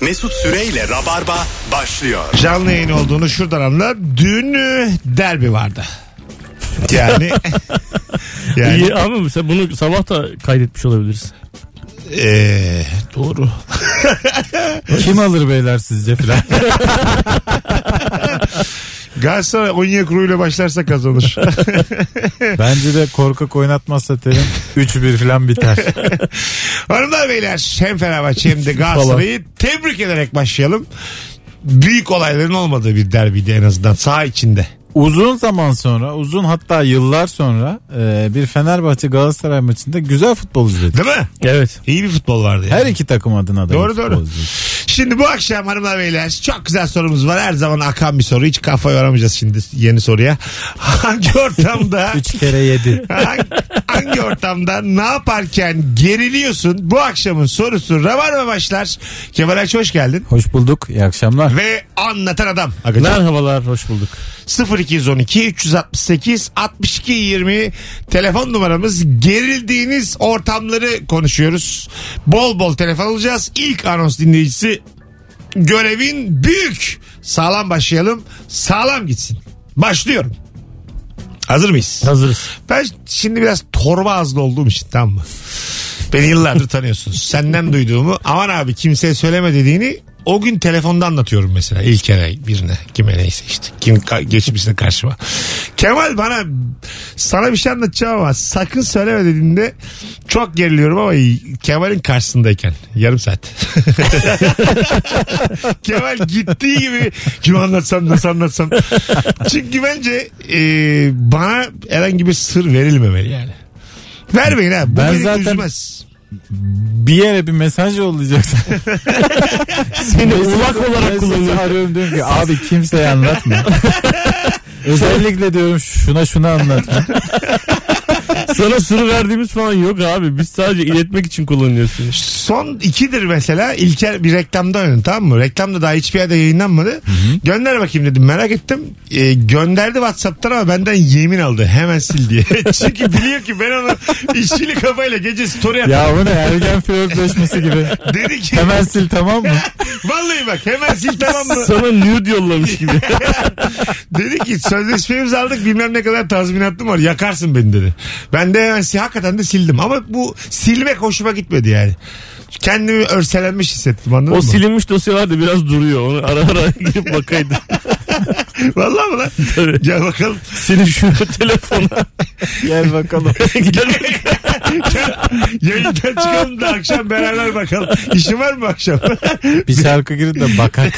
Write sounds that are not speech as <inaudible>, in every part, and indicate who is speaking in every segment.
Speaker 1: Mesut Süreyle Rabarba başlıyor.
Speaker 2: Canlı yayın olduğunu şuradan anla. Dün e, derbi vardı.
Speaker 3: <laughs>
Speaker 2: Yani, yani
Speaker 4: İyi ama mesela bunu sabah da kaydetmiş olabiliriz.
Speaker 2: e, doğru.
Speaker 3: Kim alır beyler sizce <laughs> filan?
Speaker 2: Galatasaray Onyekuru ile başlarsa
Speaker 3: <laughs>
Speaker 2: kazanır.
Speaker 3: Bence de korkak oynatmazsa terim 3-1 filan biter.
Speaker 2: Hanımlar beyler hem Fenerbahçe hem de Galatasaray'ı tebrik ederek başlayalım. Büyük olayların olmadığı bir derbiydi en azından saha içinde.
Speaker 3: Uzun zaman sonra, uzun hatta yıllar sonra e, bir Fenerbahçe Galatasaray maçında güzel futbol izledik.
Speaker 2: Değil mi?
Speaker 4: Evet.
Speaker 2: İyi bir futbol vardı yani.
Speaker 3: Her iki takım adına da.
Speaker 2: Doğru,
Speaker 3: futbol
Speaker 2: doğru.
Speaker 3: izledik.
Speaker 2: Şimdi bu akşam hanımlar beyler çok güzel sorumuz var. Her zaman akan bir soru. Hiç kafa yoramayacağız şimdi yeni soruya. Hangi ortamda
Speaker 3: <laughs> Üç kere yedi.
Speaker 2: hangi, hangi ortamda ne yaparken geriliyorsun? Bu akşamın sorusu Rabarba başlar. Kemal Ayça hoş geldin.
Speaker 3: Hoş bulduk. İyi akşamlar.
Speaker 2: Ve anlatan adam. Agacım.
Speaker 4: Merhabalar hoş bulduk.
Speaker 2: 0212 368 62 20 telefon numaramız. Gerildiğiniz ortamları konuşuyoruz. Bol bol telefon alacağız. İlk anons dinleyicisi görevin büyük. Sağlam başlayalım. Sağlam gitsin. Başlıyorum. Hazır mıyız?
Speaker 4: Hazırız.
Speaker 2: Ben şimdi biraz torba ağızlı olduğum için tamam mı? Beni yıllardır tanıyorsunuz. Senden duyduğumu aman abi kimseye söyleme dediğini o gün telefonda anlatıyorum mesela ilk kere birine kime neyse işte kim ka- geçmişine karşıma. Kemal bana sana bir şey anlatacağım ama sakın söyleme dediğinde çok geriliyorum ama Kemal'in karşısındayken yarım saat. Kemal gittiği gibi kim anlatsam nasıl anlatsam. Çünkü bence e, bana herhangi bir sır verilmemeli yani. Vermeyin ha. Bu
Speaker 3: Ben
Speaker 2: beni
Speaker 3: zaten-
Speaker 2: üzmez.
Speaker 3: Bir yere bir mesaj <laughs> yollayacaksın.
Speaker 4: Seni ulak
Speaker 3: Ben
Speaker 4: olarak
Speaker 3: sizi
Speaker 4: kullanıyorum.
Speaker 3: arıyorum diyorum ki abi kimseye anlatma. <laughs> Özellikle diyorum şuna şuna anlatma.
Speaker 4: Sana sır verdiğimiz falan yok abi. Biz sadece iletmek için kullanıyorsunuz.
Speaker 2: Son ikidir mesela. İlker bir reklamda oynadı tamam mı? Reklamda daha hiçbir yerde yayınlanmadı. Gönder bakayım dedim merak ettim. E, gönderdi Whatsapp'tan ama benden yemin aldı. Hemen sil diye. <laughs> Çünkü biliyor ki ben onu işçili kafayla gece story attım.
Speaker 3: <laughs> Ya bu ne ergen flörtleşmesi gibi.
Speaker 2: Dedi ki
Speaker 3: Hemen sil tamam mı?
Speaker 2: vallahi bak hemen sil tamam mı?
Speaker 4: Sana nude yollamış <laughs> gibi.
Speaker 2: <laughs> dedi ki sözleşmemizi aldık bilmem ne kadar tazminatım var yakarsın beni dedi. Ben de hemen si- hakikaten de sildim ama bu silmek hoşuma gitmedi yani. Kendimi örselenmiş hissettim anladın
Speaker 4: o
Speaker 2: mı?
Speaker 4: silinmiş dosyalar da biraz duruyor. Onu ara ara <laughs> girip bakaydı.
Speaker 2: <laughs> Vallahi mi lan?
Speaker 4: Tabii.
Speaker 2: Gel bakalım. <laughs>
Speaker 4: Senin şu telefona. <laughs>
Speaker 3: Gel bakalım.
Speaker 4: Gel-
Speaker 2: Yayından çıkalım da akşam beraber bakalım. İşin var mı akşam? <laughs>
Speaker 3: Bir şarkı girin de bakak.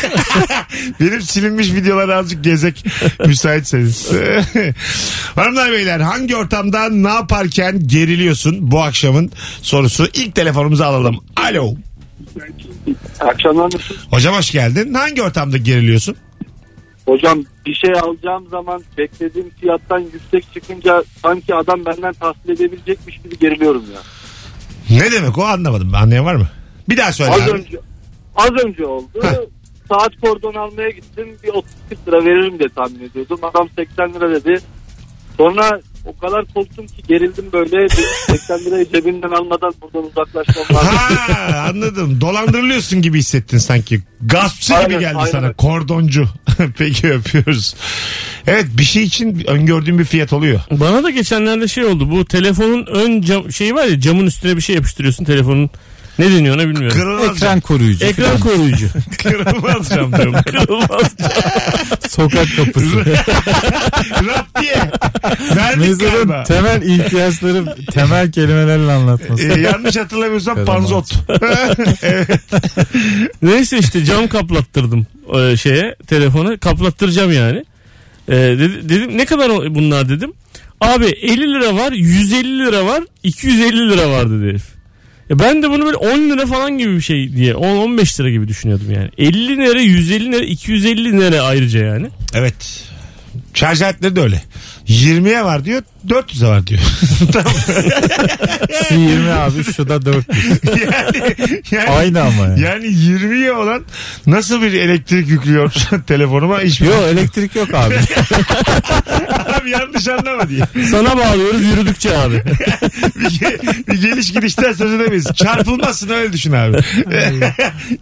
Speaker 2: Benim silinmiş videoları azıcık gezek müsaitseniz. <laughs> Hanımlar beyler hangi ortamda ne yaparken geriliyorsun bu akşamın sorusu. İlk telefonumuzu alalım. Alo.
Speaker 5: Akşamlar nasıl?
Speaker 2: Hocam hoş geldin. Hangi ortamda geriliyorsun?
Speaker 5: Hocam bir şey alacağım zaman beklediğim fiyattan yüksek çıkınca sanki adam benden tahsil edebilecekmiş gibi geriliyorum ya.
Speaker 2: Ne demek o anlamadım. ben. Anlayan var mı? Bir daha söyle.
Speaker 5: Az
Speaker 2: abi.
Speaker 5: önce az önce oldu.
Speaker 2: Heh.
Speaker 5: Saat kordon almaya gittim. Bir 30 lira veririm diye tahmin ediyordum. Adam 80 lira dedi. Sonra o kadar korktum ki gerildim böyle. Dedim, 80 lirayı cebimden almadan buradan uzaklaşmam lazım.
Speaker 2: Ha anladım. Dolandırılıyorsun gibi hissettin sanki. Gaspçı gibi
Speaker 5: Aynen,
Speaker 2: geldi
Speaker 5: aynen.
Speaker 2: sana. Kordoncu. <laughs> Peki öpüyoruz. Evet bir şey için öngördüğün bir fiyat oluyor.
Speaker 4: Bana da geçenlerde şey oldu. Bu telefonun ön cam şeyi var ya camın üstüne bir şey yapıştırıyorsun telefonun. Ne deniyor ona bilmiyorum.
Speaker 2: Kırılmaz cam.
Speaker 3: Ekran koruyucu.
Speaker 4: Ekran <laughs> koruyucu.
Speaker 2: <laughs> Kırılmaz cam diyorum.
Speaker 4: Kırılmaz.
Speaker 3: <laughs> Sokak kapısı.
Speaker 2: Rap diye. Verdik
Speaker 3: Mezarın
Speaker 2: galiba.
Speaker 3: temel ihtiyaçları temel kelimelerle anlatması.
Speaker 2: Ee, yanlış hatırlamıyorsam
Speaker 3: Kırılmaz.
Speaker 2: panzot. evet.
Speaker 4: Neyse işte cam kaplattırdım e, şeye telefona kaplattıracağım yani. E, dedi- dedim ne kadar o- bunlar dedim. Abi 50 lira var 150 lira var 250 lira var dedi herif. E ben de bunu böyle 10 lira falan gibi bir şey diye 10-15 lira gibi düşünüyordum yani. 50 nere 150 nere 250 nere ayrıca yani.
Speaker 2: Evet. Şarj aletleri de öyle. 20'ye var diyor 400'e var diyor. <laughs> Tamam.
Speaker 3: Şu 20 abi şu da 400.
Speaker 2: yani, yani,
Speaker 3: Aynı ama yani.
Speaker 2: yani 20'ye olan nasıl bir elektrik yüklüyor <laughs> telefonuma? Hiçbir
Speaker 3: Yo elektrik yok abi.
Speaker 2: <laughs> abi yanlış anlama diye.
Speaker 4: Sana bağlıyoruz yürüdükçe abi.
Speaker 2: <laughs> bir, ge- bir geliş gidişten söz edemeyiz. Çarpılmazsın öyle düşün abi. <laughs>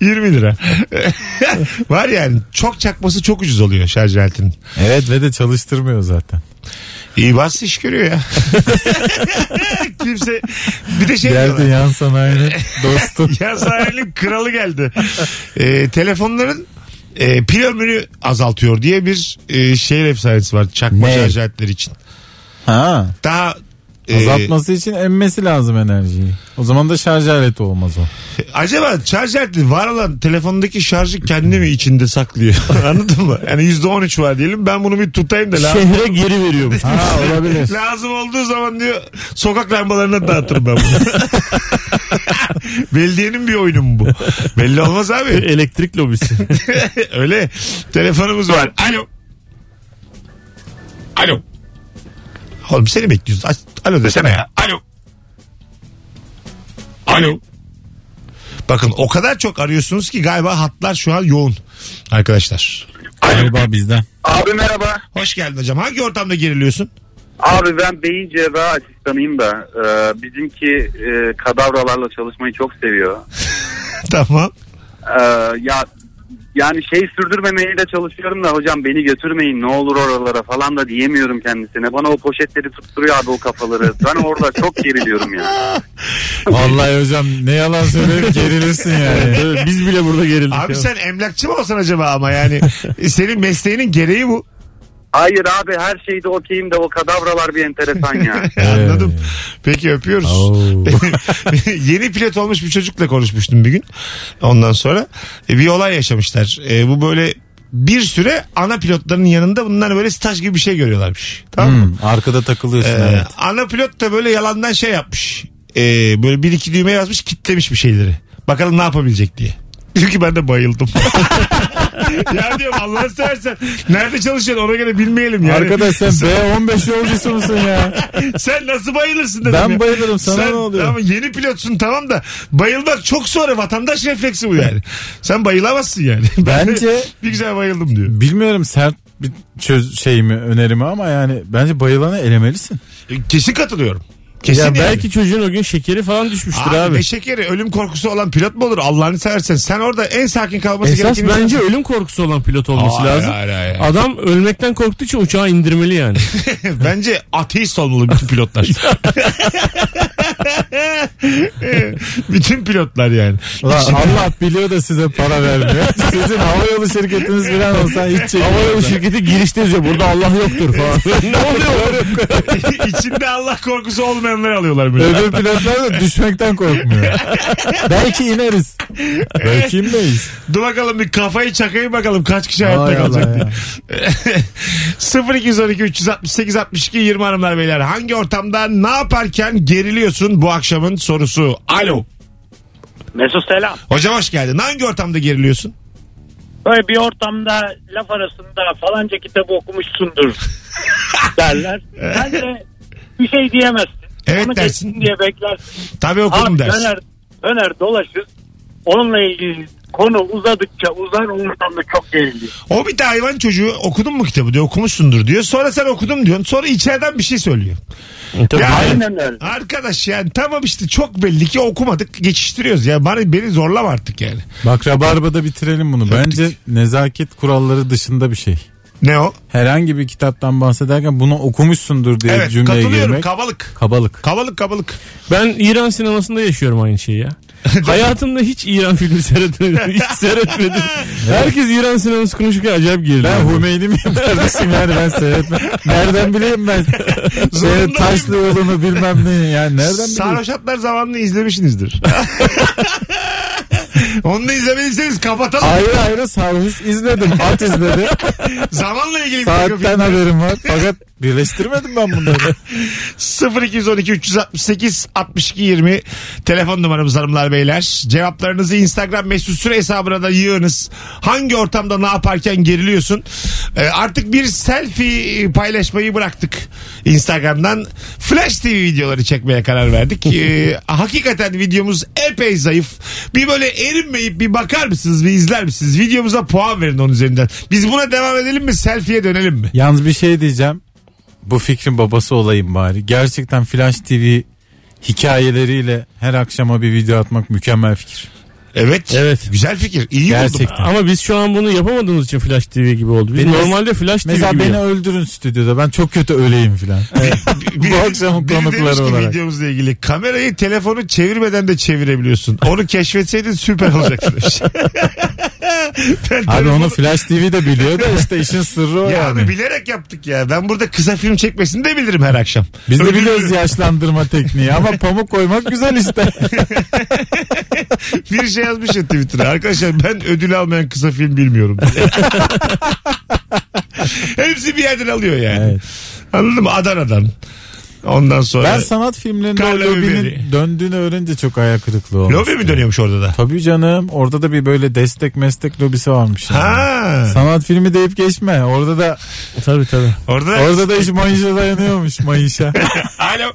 Speaker 2: 20 lira. <laughs> Var yani çok çakması çok ucuz oluyor şarj aletinin.
Speaker 3: evet ve de çalıştırmıyor zaten.
Speaker 2: İyi bas iş görüyor ya. <laughs> Kimse bir de şey
Speaker 3: Geldi
Speaker 2: diyorlar.
Speaker 3: yan sanayinin dostu.
Speaker 2: <laughs> Ya sahilin kralı geldi. Ee, telefonların e, pil ömrünü azaltıyor diye bir e, şehir efsanesi var çakma
Speaker 3: Ne?
Speaker 2: şarj aletleri için.
Speaker 3: Ha.
Speaker 2: Daha e,
Speaker 3: Azaltması için emmesi lazım enerjiyi. O zaman da şarj aleti olmaz o.
Speaker 2: Acaba şarj aleti var olan telefondaki şarjı kendi mi içinde saklıyor? <laughs> Anladın mı? Yani %13 var diyelim. Ben bunu bir tutayım da lazım.
Speaker 4: Şehre geri veriyormuş.
Speaker 3: Ha olabilir.
Speaker 2: lazım olduğu zaman diyor sokak lambalarına dağıtırım ben bunu. <laughs> Belediyenin bir oyunu mu bu? Belli olmaz abi.
Speaker 4: Elektrik lobisi.
Speaker 2: <laughs> Öyle. Telefonumuz var. Alo. Alo. Oğlum seni bekliyoruz. Aç, alo desene ya. Alo. Alo. Bakın o kadar çok arıyorsunuz ki galiba hatlar şu an yoğun. Arkadaşlar.
Speaker 3: Galiba bizden.
Speaker 6: Abi merhaba.
Speaker 2: Hoş geldin hocam. Hangi ortamda geriliyorsun? <laughs>
Speaker 6: Abi ben beyin cerrahı asistanıyım da e, bizimki e, kadavralarla çalışmayı çok seviyor.
Speaker 2: tamam.
Speaker 6: E, ya yani şey sürdürmemeye de çalışıyorum da hocam beni götürmeyin ne olur oralara falan da diyemiyorum kendisine. Bana o poşetleri tutturuyor abi o kafaları. Ben orada çok geriliyorum ya.
Speaker 3: Vallahi hocam ne yalan söyleyeyim gerilirsin
Speaker 4: <laughs>
Speaker 3: yani.
Speaker 4: Evet, Biz bile burada gerildik.
Speaker 2: Abi
Speaker 4: ya.
Speaker 2: sen emlakçı mı olsan acaba ama <laughs> yani senin mesleğinin gereği bu.
Speaker 6: Hayır abi her şeyde okeyim de o kadavralar bir enteresan <laughs> ya.
Speaker 2: Anladım. Peki öpüyoruz.
Speaker 3: Oo.
Speaker 2: <laughs> Yeni pilot olmuş bir çocukla konuşmuştum bir gün. Ondan sonra e, bir olay yaşamışlar. E, bu böyle bir süre ana pilotların yanında bunlar böyle staj gibi bir şey görüyorlarmış. Tamam mı?
Speaker 3: Hmm, arkada takılıyorsun
Speaker 2: E,
Speaker 3: Hmm, evet.
Speaker 2: Ana pilot da böyle yalandan şey yapmış. E, böyle bir iki düğme yazmış kitlemiş bir şeyleri. Bakalım ne yapabilecek diye. Diyor ki ben de bayıldım. <laughs> ya diyorum Allah seversen nerede çalışıyorsun ona göre bilmeyelim yani.
Speaker 3: Arkadaş sen B15 yolcusu musun ya?
Speaker 2: <laughs> Sen nasıl bayılırsın dedim
Speaker 3: Ben
Speaker 2: ya.
Speaker 3: bayılırım, sana ne oluyor?
Speaker 2: Ama yeni pilotsun tamam da bayılmak çok sonra vatandaş refleksi bu yani. Sen bayılamazsın yani. <laughs> Ben de
Speaker 3: Bence-
Speaker 2: bir güzel bayıldım diyor.
Speaker 3: <laughs> Bilmiyorum sert bir çöz şey mi önerimi ama yani bence bayılanı elemelisin.
Speaker 2: E, Kesin katılıyorum. Kesin
Speaker 4: ya
Speaker 2: yani.
Speaker 4: belki çocuğun o gün şekeri falan düşmüştür
Speaker 2: Abi,
Speaker 4: abi.
Speaker 2: ne şekeri ölüm korkusu olan pilot mu olur Allah'ını seversen sen orada en sakin kalması
Speaker 4: Esas
Speaker 2: gereken
Speaker 4: bence ölüm korkusu olan pilot olması
Speaker 2: Hayır,
Speaker 4: lazım.
Speaker 2: hayır, hayır. <laughs>
Speaker 4: Adam ölmekten korktuğu için uçağı indirmeli yani.
Speaker 2: bence ateist olmalı bütün pilotlar <laughs> bütün pilotlar yani
Speaker 3: Ulan Allah biliyor da size para <laughs> vermiyor. Sizin havayolu şirketiniz falan olsa hiç çekiyor.
Speaker 4: Havayolu şirketi girişte yazıyor. Burada Allah yoktur falan.
Speaker 3: <laughs>
Speaker 4: ne
Speaker 2: <laughs>
Speaker 4: oluyor?
Speaker 2: içinde Allah korkusu olmayanları alıyorlar böyle.
Speaker 3: Öbür pilotlar da düşmekten korkmuyor. Belki ineriz. Belki inmeyiz.
Speaker 2: Dur bakalım bir kafayı çakayım bakalım kaç kişi hayatta
Speaker 3: Hay Allah
Speaker 2: kalacak. <laughs>
Speaker 3: ya.
Speaker 2: 0212 368 62 20 hanımlar beyler hangi ortamda ne yaparken geriliyorsun bu akşamın sorusu. Alo.
Speaker 7: Mesut selam.
Speaker 2: Hocam hoş geldin. Hangi ortamda geriliyorsun?
Speaker 7: Böyle bir ortamda laf arasında falanca kitabı
Speaker 2: <laughs>
Speaker 7: okumuşsundur derler. Sen de bir şey diyemezsin.
Speaker 2: Evet
Speaker 7: Onu
Speaker 2: dersin.
Speaker 7: geçsin diye beklersin.
Speaker 2: Tabii okudum
Speaker 7: Abi
Speaker 2: dersin.
Speaker 7: döner, döner dolaşır. Onunla ilgili konu uzadıkça uzar o ortamda çok geriliyor.
Speaker 2: O bir de hayvan çocuğu okudun mu kitabı diyor okumuşsundur diyor. Sonra sen okudum diyorsun. Sonra içeriden bir şey söylüyor.
Speaker 4: Tabii.
Speaker 2: Ya-
Speaker 7: Aynen öyle.
Speaker 2: Arkadaş yani tamam işte çok belli ki okumadık geçiştiriyoruz. Ya bana beni zorlama artık yani.
Speaker 3: Bak Rabarba'da bitirelim bunu. Bence nezaket kuralları dışında bir şey.
Speaker 2: Ne o?
Speaker 3: Herhangi bir kitaptan bahsederken bunu okumuşsundur diye
Speaker 2: Evet
Speaker 3: cümleye
Speaker 2: katılıyorum
Speaker 3: girmek.
Speaker 2: kabalık.
Speaker 3: kabalık.
Speaker 2: Kabalık kabalık.
Speaker 4: Ben İran sinemasında yaşıyorum aynı şeyi ya. Hayatımda hiç İran filmi seyretmedim. Hiç seyretmedim. Herkes İran sineması konuşurken acayip girdi.
Speaker 3: Ben Hümeyni miyim kardeşim yani ben <laughs> seyretmem. Nereden bileyim ben? Senin taşlı olduğunu bilmem ne yani nereden bileyim?
Speaker 2: Sarhoşatlar zamanını izlemişsinizdir. <laughs> Onu da izlemediyseniz kapatalım.
Speaker 3: Ayrı <laughs> ayrı sarhoş izledim. At izledim.
Speaker 2: Zamanla ilgili bir takım
Speaker 3: Saatten haberim var. Fakat Birleştirmedim ben bunları.
Speaker 2: 0212 368 62 20 telefon numaramız hanımlar beyler. Cevaplarınızı Instagram mesut süre hesabına da yığınız. Hangi ortamda ne yaparken geriliyorsun? Ee, artık bir selfie paylaşmayı bıraktık Instagram'dan. Flash TV videoları çekmeye karar verdik. Ee, hakikaten videomuz epey zayıf. Bir böyle erinmeyip bir bakar mısınız bir izler misiniz? Videomuza puan verin onun üzerinden. Biz buna devam edelim mi? Selfie'ye dönelim mi?
Speaker 3: <laughs> Yalnız bir şey diyeceğim. Bu fikrin babası olayım bari. Gerçekten Flash TV hikayeleriyle her akşama bir video atmak mükemmel fikir.
Speaker 2: Evet.
Speaker 4: Evet.
Speaker 2: Güzel fikir. İyi buldum.
Speaker 3: Gerçekten.
Speaker 4: Ama biz şu an bunu yapamadığımız için Flash TV gibi oldu. Biz
Speaker 3: Benim-
Speaker 4: normalde Flash TV
Speaker 3: Mesela
Speaker 4: gibi.
Speaker 3: beni
Speaker 4: yap-
Speaker 3: öldürün stüdyoda. Ben çok kötü öleyim filan. <laughs> Bu akşamın
Speaker 2: biri demiş
Speaker 3: konukları
Speaker 2: ki
Speaker 3: olarak.
Speaker 2: videomuzla ilgili kamerayı telefonu çevirmeden de çevirebiliyorsun. Onu keşfetseydin süper
Speaker 3: <laughs>
Speaker 2: olacaktı demiş. Ben
Speaker 3: Abi
Speaker 2: telefonu-
Speaker 3: onu Flash TV de biliyor da işte işin sırrı o
Speaker 2: ya abi
Speaker 3: yani.
Speaker 2: bilerek yaptık ya. Ben burada kısa film çekmesini de bilirim her akşam.
Speaker 3: Biz de
Speaker 2: Öbür-
Speaker 3: biliyoruz yaşlandırma tekniği ama pamuk koymak güzel işte.
Speaker 2: <laughs> Bir şey yazmış ya Twitter'a. Arkadaşlar ben ödül almayan kısa film bilmiyorum. <laughs> Hepsi bir yerden alıyor yani.
Speaker 3: Evet.
Speaker 2: Anladın mı? Adana'dan. Ondan sonra.
Speaker 3: Ben sanat filmlerinde o
Speaker 2: Karla
Speaker 3: lobinin
Speaker 2: biberi.
Speaker 3: döndüğünü öğrenince çok ayak kırıklığı olmuş.
Speaker 2: Lobi mi dönüyormuş orada da?
Speaker 3: Tabii canım orada da bir böyle destek meslek lobisi varmış. yani.
Speaker 2: Ha.
Speaker 3: Sanat filmi deyip geçme. Orada da
Speaker 4: Tabii tabii.
Speaker 2: Orada da.
Speaker 3: orada da iş mayışa dayanıyormuş mayışa.
Speaker 2: <laughs> Alo.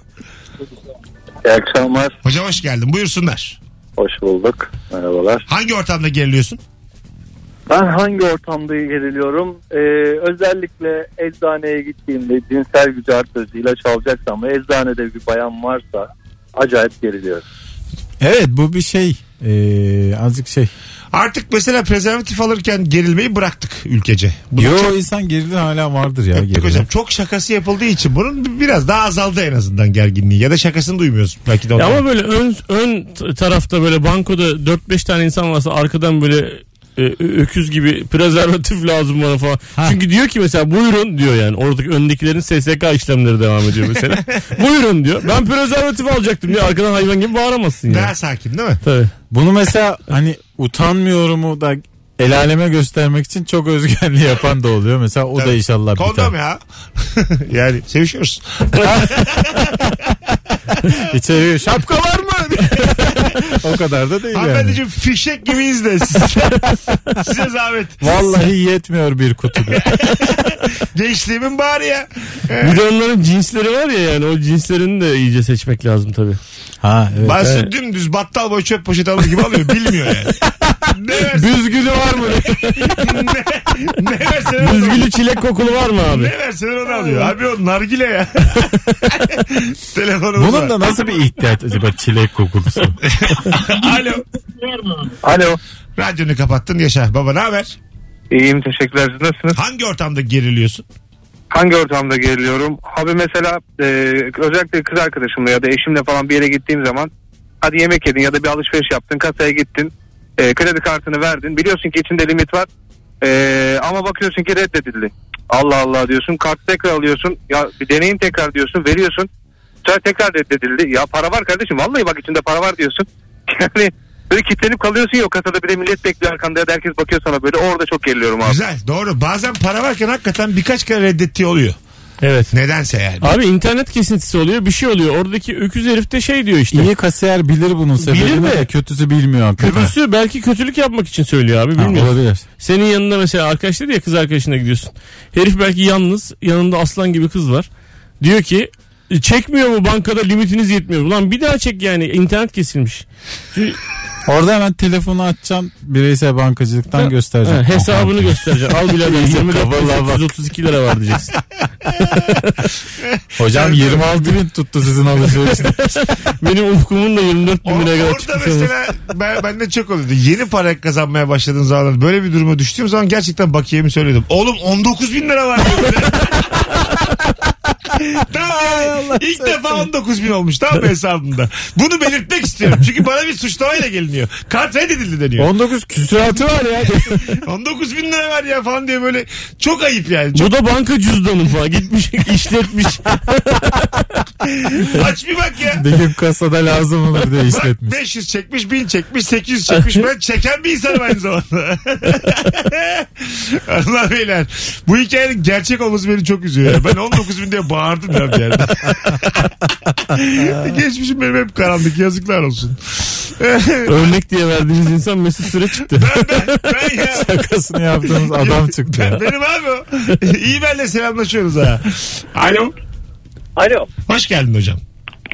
Speaker 8: İyi akşamlar.
Speaker 2: Hocam hoş geldin. Buyursunlar.
Speaker 8: Hoş bulduk. Merhabalar.
Speaker 2: Hangi ortamda geriliyorsun?
Speaker 8: Ben hangi ortamda geriliyorum? Ee, özellikle eczaneye gittiğimde cinsel gücü artırıcı ilaç alacaksam ve eczanede bir bayan varsa acayip geriliyorum.
Speaker 3: evet bu bir şey. Ee, azıcık şey.
Speaker 2: Artık mesela prezervatif alırken gerilmeyi bıraktık ülkece. Bu
Speaker 3: Yo insan gerilir hala vardır ya.
Speaker 2: Öptük
Speaker 3: gerilir.
Speaker 2: hocam. Çok şakası yapıldığı için bunun biraz daha azaldı en azından gerginliği. Ya da şakasını duymuyoruz. Belki de
Speaker 4: Ya
Speaker 2: ondan.
Speaker 4: ama böyle ön ön t- tarafta böyle bankoda 4-5 tane insan varsa arkadan böyle e, ö- öküz gibi prezervatif lazım bana falan. Çünkü diyor ki mesela buyurun diyor yani. Oradaki öndekilerin SSK işlemleri devam ediyor mesela. buyurun diyor. Ben prezervatif alacaktım diyor. Arkadan hayvan gibi bağıramazsın yani.
Speaker 2: Daha sakin değil mi?
Speaker 4: Tabii.
Speaker 3: Bunu mesela hani utanmıyorumu da el aleme göstermek için çok özgürlüğü yapan da oluyor. Mesela o da
Speaker 2: Tabii.
Speaker 3: inşallah
Speaker 2: Kondom
Speaker 3: biter.
Speaker 2: ya. <laughs> yani sevişiyoruz.
Speaker 3: İçeriyor şapka var mı? <laughs> o kadar da değil yani.
Speaker 2: Hanımefendiciğim fişek gibiyiz de siz- size zahmet.
Speaker 3: Vallahi yetmiyor bir kutuda.
Speaker 2: Gençliğimin bari ya.
Speaker 4: Bir de onların cinsleri var ya yani o cinslerini de iyice seçmek lazım tabii.
Speaker 3: ha evet.
Speaker 2: Bazısı dümdüz battal boy çöp poşeti alır gibi alıyor. Bilmiyor yani. Ne versen,
Speaker 4: Büzgülü var mı?
Speaker 2: ne versen onu alıyor.
Speaker 4: Büzgülü çilek kokulu var mı
Speaker 2: <laughs>
Speaker 4: abi?
Speaker 2: Ne versen onu alıyor. Abi o nargile
Speaker 3: <laughs>
Speaker 2: ya. Telefonumuz var.
Speaker 3: Bunun da nasıl bir ihtiyaç acaba çilek kokusu?
Speaker 2: Alo.
Speaker 8: Alo.
Speaker 2: Radyonu kapattın yaşa. Baba ne haber?
Speaker 8: İyiyim teşekkürler. Siz nasılsınız?
Speaker 2: Hangi ortamda geriliyorsun?
Speaker 8: Hangi ortamda geriliyorum? Abi mesela e, özellikle kız arkadaşımla ya da eşimle falan bir yere gittiğim zaman hadi yemek yedin ya da bir alışveriş yaptın kasaya gittin e, kredi kartını verdin biliyorsun ki içinde limit var E, ama bakıyorsun ki reddedildi. Allah Allah diyorsun kart tekrar alıyorsun ya bir deneyin tekrar diyorsun veriyorsun sonra tekrar reddedildi ya para var kardeşim vallahi bak içinde para var diyorsun <laughs> yani böyle kilitlenip kalıyorsun yok kasada bir de millet bekliyor arkanda ya da herkes bakıyor sana böyle orada çok geriliyorum abi.
Speaker 2: Güzel doğru. Bazen para varken hakikaten birkaç kere reddettiği oluyor.
Speaker 4: Evet.
Speaker 2: Nedense yani.
Speaker 4: Abi internet kesintisi oluyor bir şey oluyor. Oradaki öküz herif de şey diyor işte.
Speaker 3: İyi kasiyer bilir bunun sebebini
Speaker 4: de.
Speaker 3: de kötüsü bilmiyor hakikaten.
Speaker 4: Öbürsü belki kötülük yapmak için söylüyor abi
Speaker 3: Ha,
Speaker 4: bilmiyorum.
Speaker 3: olabilir.
Speaker 4: Senin yanında mesela arkadaş dedi ya kız arkadaşına gidiyorsun. Herif belki yalnız yanında aslan gibi kız var. Diyor ki "E, çekmiyor mu bankada limitiniz yetmiyor. Ulan bir daha çek yani internet kesilmiş.
Speaker 3: Orada hemen telefonu açacağım bireysel bankacılıktan göstereceğim.
Speaker 4: Ha, hesabını
Speaker 3: Aha.
Speaker 4: göstereceksin. Al
Speaker 3: <laughs>
Speaker 4: birader
Speaker 3: İyice
Speaker 4: 24
Speaker 3: kafalar bak.
Speaker 4: 132 lira var diyeceksin.
Speaker 3: Hocam 26 bin tuttu sizin alışverişte.
Speaker 2: <laughs>
Speaker 4: Benim ufkumun da 24 bin
Speaker 2: Or-
Speaker 4: liraya kadar
Speaker 2: orada
Speaker 4: çıkmış olması.
Speaker 2: mesela <laughs> ben, bende çok oluyordu. Yeni para kazanmaya başladığım zaman böyle bir duruma düştüğüm zaman gerçekten bakiyemi söylüyordum. Oğlum 19 bin lira var. diyor böyle. tamam yani. İlk defa 19 bin olmuş tamam mı hesabımda. Bunu belirtmek istiyorum. Çünkü bana bir suçlamayla geliniyor. Kart reddedildi deniyor.
Speaker 3: 19 küsuratı var ya.
Speaker 2: 19 bin lira var ya falan diye böyle çok ayıp yani. Çok
Speaker 4: Bu da banka cüzdanı falan gitmiş
Speaker 3: <laughs>
Speaker 4: işletmiş.
Speaker 2: aç bir bak ya.
Speaker 3: Bir gün kasada lazım olur diye
Speaker 2: Bak
Speaker 3: işletmiş.
Speaker 2: <laughs> 500 çekmiş, 1000 çekmiş, 800 çekmiş. Ben çeken bir insanım aynı zamanda. Hanımlar beyler bu hikayenin gerçek olması beni çok üzüyor. ya. Ben 19 bin diye bağırdım ya bir yerde. Geçmişim benim hep karanlık yazıklar olsun.
Speaker 4: Örnek diye verdiğiniz insan Mesut Süre çıktı.
Speaker 2: ben ya
Speaker 3: Şakasını yaptığımız adam çıktı ya.
Speaker 2: benim abi o. İyi benle selamlaşıyoruz ha. Alo.
Speaker 5: Alo.
Speaker 2: Hoş geldin hocam.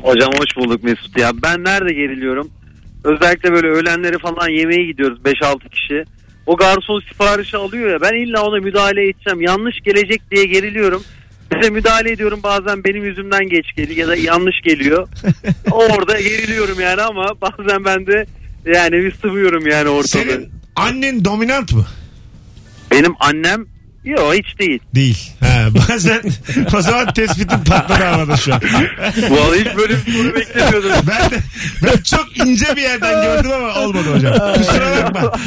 Speaker 6: Hocam hoş bulduk Mesut ya. Ben nerede geriliyorum? Özellikle böyle öğlenleri falan yemeğe gidiyoruz 5-6 kişi. O garson siparişi alıyor ya ben illa ona müdahale edeceğim. Yanlış gelecek diye geriliyorum. Size müdahale ediyorum bazen benim yüzümden geç geliyor ya da yanlış geliyor. Orada geriliyorum yani ama bazen ben de yani bir sıvıyorum yani ortada.
Speaker 2: Senin annen dominant mı?
Speaker 6: Benim annem yok hiç değil.
Speaker 2: Değil. Ha, bazen o zaman tespitin patladı havada şu an.
Speaker 6: Vallahi hiç böyle bir soru beklemiyordum.
Speaker 2: Ben de ben çok ince bir yerden gördüm ama olmadı hocam. Kusura bakma.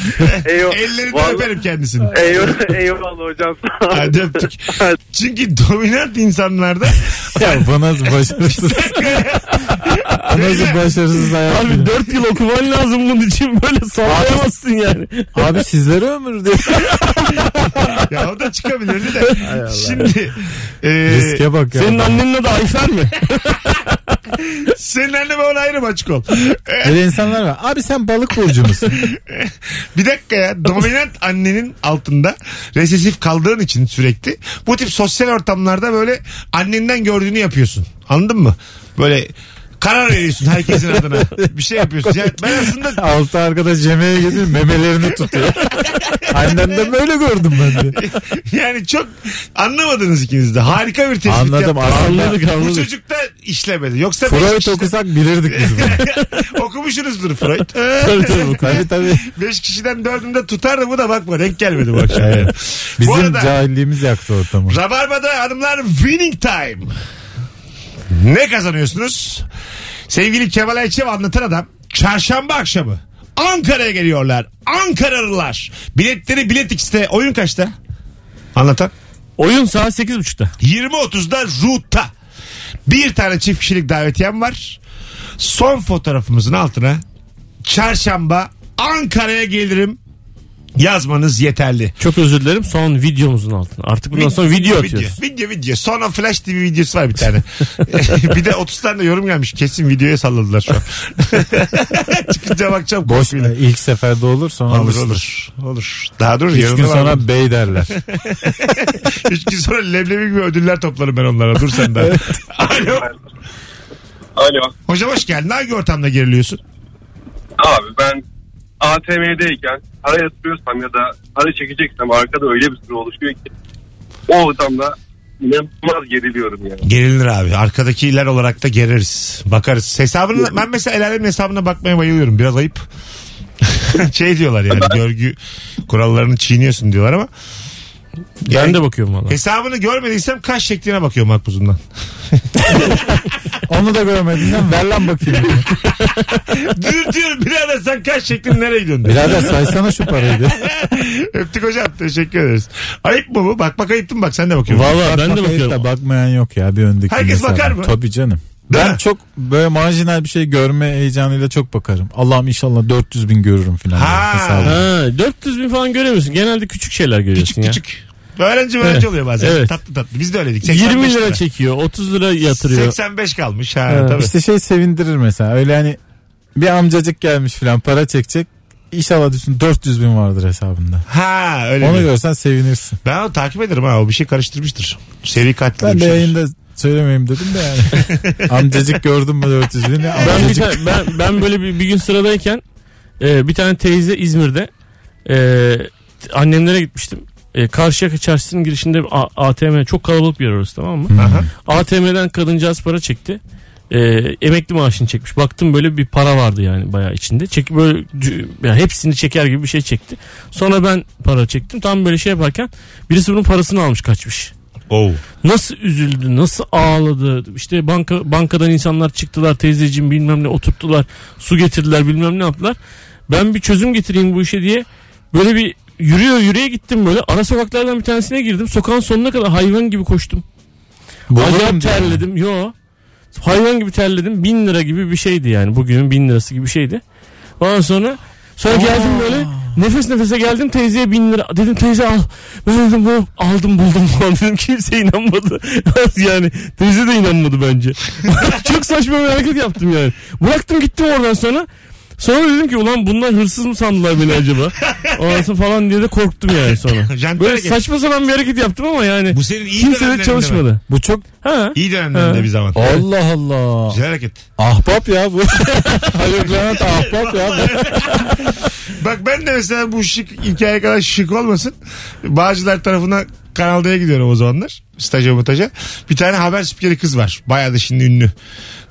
Speaker 6: Eyvah.
Speaker 2: Ellerinden
Speaker 6: Vallahi-
Speaker 2: öperim kendisini.
Speaker 6: Eyvallah, eyvallah hocam. sağ olun.
Speaker 2: Hadi öptük. Çünkü dominant
Speaker 6: <laughs>
Speaker 2: insanlarda
Speaker 3: Ya bu nasıl başarısız? <laughs> bu nasıl başarısız hayat?
Speaker 4: Abi 4 yıl okuman lazım bunun için böyle sallayamazsın yani.
Speaker 3: Abi sizlere ömür diye.
Speaker 2: ya o da çıkabilirdi de. Şimdi e,
Speaker 3: Riske bak ya.
Speaker 4: Senin annenin adı Ayfer mi?
Speaker 2: senin anneme ona ayrı mı açık ol. E,
Speaker 3: Öyle insanlar var. Abi sen balık burcu
Speaker 2: <laughs>
Speaker 3: musun?
Speaker 2: bir dakika ya dominant annenin altında resesif kaldığın için sürekli bu tip sosyal ortamlarda böyle annenden gördüğünü yapıyorsun. Anladın mı? Böyle karar veriyorsun herkesin adına. Bir şey yapıyorsun. Yani ben aslında <laughs>
Speaker 3: Altı arkadaş yemeğe gidiyor memelerini tutuyor. Annemden böyle gördüm ben de.
Speaker 2: yani çok anlamadınız ikiniz de. Harika bir tespit
Speaker 3: Anladım
Speaker 2: yaptınız.
Speaker 3: aslında.
Speaker 4: Anladık
Speaker 2: Bu
Speaker 4: anladık.
Speaker 2: çocukta işlemedi. Yoksa
Speaker 3: Freud
Speaker 2: beş-
Speaker 3: okusak bilirdik biz
Speaker 2: <laughs>
Speaker 3: bunu.
Speaker 2: Okumuşsunuzdur Freud.
Speaker 4: Tabii tabii.
Speaker 3: tabii tabii.
Speaker 2: Beş kişiden dördünde tutardı bu da bakma denk gelmedi bu akşam.
Speaker 3: Evet. Bizim
Speaker 2: Bu arada-
Speaker 3: cahilliğimiz yaktı ortamı.
Speaker 2: Rabarba'da hanımlar winning time. Ne kazanıyorsunuz? Sevgili Kemal Ayçev anlatan adam çarşamba akşamı Ankara'ya geliyorlar. Ankaralılar. Biletleri Bilet X'te. Oyun kaçta? Anlatan.
Speaker 4: <laughs> Oyun saat 8.30'da.
Speaker 2: 20.30'da Root'ta. Bir tane çift kişilik davetiyem var. Son fotoğrafımızın altına çarşamba Ankara'ya gelirim yazmanız yeterli.
Speaker 4: Çok özür dilerim son videomuzun altına. Artık bundan sonra video atıyoruz.
Speaker 2: Video, video, video. Sonra Flash TV videosu var bir tane. <laughs> bir de 30 tane de yorum gelmiş. Kesin videoya salladılar şu an. <laughs> Çıkınca bakacağım.
Speaker 3: Boş e,
Speaker 2: korkuyla.
Speaker 3: ilk seferde olur sonra
Speaker 2: Olur
Speaker 3: alışılır.
Speaker 2: olur. Olur. Daha dur.
Speaker 3: Üç
Speaker 2: yarın
Speaker 3: gün
Speaker 2: da var bunun.
Speaker 3: sonra bey derler.
Speaker 2: Üç gün sonra leblebi gibi ödüller toplarım ben onlara. Dur sen daha.
Speaker 3: <laughs>
Speaker 2: Alo.
Speaker 8: Alo.
Speaker 2: Hocam hoş geldin. Hangi ortamda geriliyorsun?
Speaker 8: Abi ben ATM'deyken para yatırıyorsam ya da para çekeceksem arkada öyle bir sürü oluşuyor ki o ortamda inanılmaz geriliyorum yani.
Speaker 2: Gerilir abi. Arkadakiler olarak da gereriz. Bakarız. Hesabını, ben mesela el alemin hesabına bakmaya bayılıyorum. Biraz ayıp. <laughs> şey diyorlar yani görgü kurallarını çiğniyorsun diyorlar ama
Speaker 4: Ben de bakıyorum valla.
Speaker 2: Hesabını görmediysem kaş şekline bakıyorum
Speaker 4: <laughs>
Speaker 2: makbuzundan.
Speaker 3: Onu da görmediysen ver lan bakayım.
Speaker 2: <laughs> Dürtüyorum birader sen kaş şeklin nereye gidiyorsun? diye.
Speaker 3: Birader saysana şu
Speaker 4: <laughs>
Speaker 3: parayı diye.
Speaker 2: <laughs> Öptük hocam teşekkür ederiz. Ayıp mı bu? Bak bak ayıp mı? Bak sen de bakıyorsun.
Speaker 4: Valla ben de
Speaker 3: Bakayım da
Speaker 4: bakıyorum.
Speaker 3: bakmayan yok ya bir öndeki.
Speaker 2: Herkes
Speaker 3: mesela.
Speaker 2: bakar mı?
Speaker 3: Tabii canım.
Speaker 2: Değil
Speaker 3: ben
Speaker 2: mi?
Speaker 3: çok böyle marjinal bir şey görme heyecanıyla çok bakarım. Allah'ım inşallah 400 bin görürüm falan.
Speaker 2: Ha.
Speaker 3: Hesabı.
Speaker 4: Ha, 400 bin falan göremiyorsun. Genelde küçük şeyler görüyorsun ya.
Speaker 2: Küçük. Öğrenci öğrenci
Speaker 4: Evet.
Speaker 2: oluyor bazen.
Speaker 4: Evet.
Speaker 2: Tatlı tatlı. Biz de öyleydik.
Speaker 4: 20
Speaker 2: 85
Speaker 4: lira çekiyor. 30 lira yatırıyor.
Speaker 2: 85 kalmış. Ha,
Speaker 4: Evet.
Speaker 2: tabii.
Speaker 3: İşte şey sevindirir mesela. Öyle hani bir amcacık gelmiş falan para çekecek. İnşallah düşün 400 bin vardır hesabında.
Speaker 2: ha öyle.
Speaker 3: Onu
Speaker 2: mi?
Speaker 3: görsen sevinirsin.
Speaker 2: Ben onu takip ederim ha. O bir şey karıştırmıştır. Seri katil.
Speaker 3: Ben
Speaker 2: bir
Speaker 3: de
Speaker 2: şey.
Speaker 3: yayında söylemeyeyim dedim de
Speaker 2: <laughs>
Speaker 3: yani. amcacık gördüm mü 400 bini?
Speaker 4: Ben bir
Speaker 3: Amcacık
Speaker 4: tane- ben, ben böyle bir, bir gün sıradayken e, bir tane teyze İzmir'de e, t- annemlere gitmiştim. E, Karşıyaka çarşısının girişinde bir A- ATM çok kalabalık bir yer orası tamam mı?
Speaker 2: Aha.
Speaker 4: ATM'den kadıncağız para çekti. E, emekli maaşını çekmiş. Baktım böyle bir para vardı yani bayağı içinde. Çek böyle dü- yani hepsini çeker gibi bir şey çekti. Sonra ben para çektim. Tam böyle şey yaparken birisi bunun parasını almış kaçmış.
Speaker 2: Oh.
Speaker 4: Nasıl üzüldü, nasıl ağladı. İşte banka bankadan insanlar çıktılar, teyzeciğim bilmem ne oturttular, su getirdiler, bilmem ne yaptılar. Ben bir çözüm getireyim bu işe diye böyle bir yürüyor yürüye gittim böyle ara sokaklardan bir tanesine girdim. Sokağın sonuna kadar hayvan gibi koştum.
Speaker 3: boğulurum
Speaker 4: Acayip
Speaker 3: diye.
Speaker 4: terledim. Yo. Hayvan gibi terledim. Bin lira gibi bir şeydi yani. Bugünün bin lirası gibi bir şeydi. Ondan sonra sonra geldim böyle Nefes nefese geldim teyzeye bin lira. Dedim teyze al. Ben dedim bu aldım buldum <laughs> falan dedim. Kimse inanmadı. <laughs> yani teyze de inanmadı bence. <laughs> Çok saçma bir hareket yaptım yani. Bıraktım gittim oradan sonra. Sonra dedim ki ulan bunlar hırsız mı sandılar beni
Speaker 2: <laughs>
Speaker 4: acaba? Ondan sonra falan diye de korktum yani sonra.
Speaker 2: Jandarma
Speaker 4: Böyle
Speaker 2: geç.
Speaker 4: saçma sapan bir hareket yaptım ama yani.
Speaker 2: Bu senin iyi
Speaker 4: kimse de
Speaker 2: dönemlerinde
Speaker 4: çalışmadı.
Speaker 2: mi?
Speaker 3: Bu çok
Speaker 4: Ha.
Speaker 2: İyi dönemlerinde
Speaker 4: Ha.
Speaker 2: bir zaman.
Speaker 3: Allah Allah.
Speaker 2: Güzel hareket.
Speaker 3: Ahbap ya bu. Haluk Levent ahbap ya. bu.
Speaker 2: Bak ben de mesela bu şık hikaye kadar şık olmasın. Bağcılar tarafına kanaldaya gidiyorum o zamanlar. Staja mutaja. Bir tane haber spikeri kız var. Bayağı da şimdi ünlü.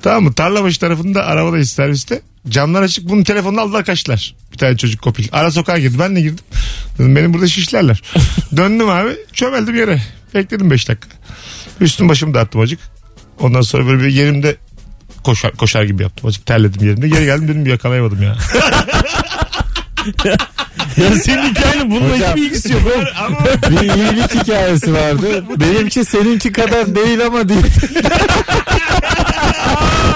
Speaker 2: Tamam mı? Tarlabaşı tarafında arabadayız serviste. Camlar açık. Bunun telefonunu aldılar kaçtılar. Bir tane çocuk kopil. Ara sokağa girdi. Ben de girdim. Dedim benim burada şişlerler. Döndüm abi. Çömeldim yere. Bekledim 5 dakika. Üstüm başımı dağıttım acık. Ondan sonra böyle bir yerimde koşar, koşar gibi yaptım. Acık terledim yerimde. Geri geldim dedim yakalayamadım ya.
Speaker 4: Ya senin hikayenin bununla hiçbir ilgisi yok. oğlum.
Speaker 2: Ama
Speaker 3: Bir iyilik hikayesi vardı. Benimki seninki kadar değil ama değil.
Speaker 4: <laughs>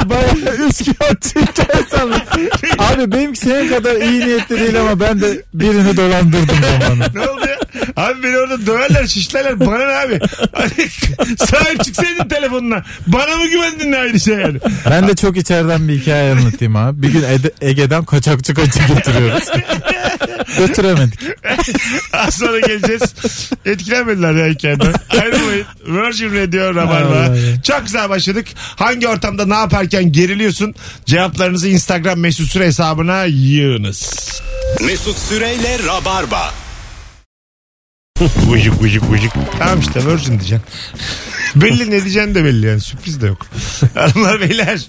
Speaker 3: Bayağı üsküyatçı hikayesi anlattı. Abi benimki senin kadar iyi niyetli değil ama ben de birini dolandırdım zamanı.
Speaker 2: Ne oldu ya? Abi beni orada döverler şişlerler. Bana ne abi? Hani <laughs> Sahip çıksaydın telefonuna. Bana mı güvendin de ayrı şey yani?
Speaker 3: Ben de çok içeriden bir hikaye anlatayım abi. Bir gün Ede- Ege'den kaçakçı kaçı getiriyoruz. Götüremedik.
Speaker 2: Az sonra geleceğiz. Etkilenmediler ya hikayeden. Ayrılmayın. Virgin Radio Rabarba. Çok güzel başladık. Hangi ortamda ne yaparken geriliyorsun? Cevaplarınızı Instagram mesut süre hesabına yığınız.
Speaker 1: Mesut Süreyle Rabarba.
Speaker 2: Vıcık vıcık vıcık. Tamam işte Virgin diyeceksin. <laughs> belli ne diyeceksin de belli yani sürpriz de yok. <laughs> Hanımlar beyler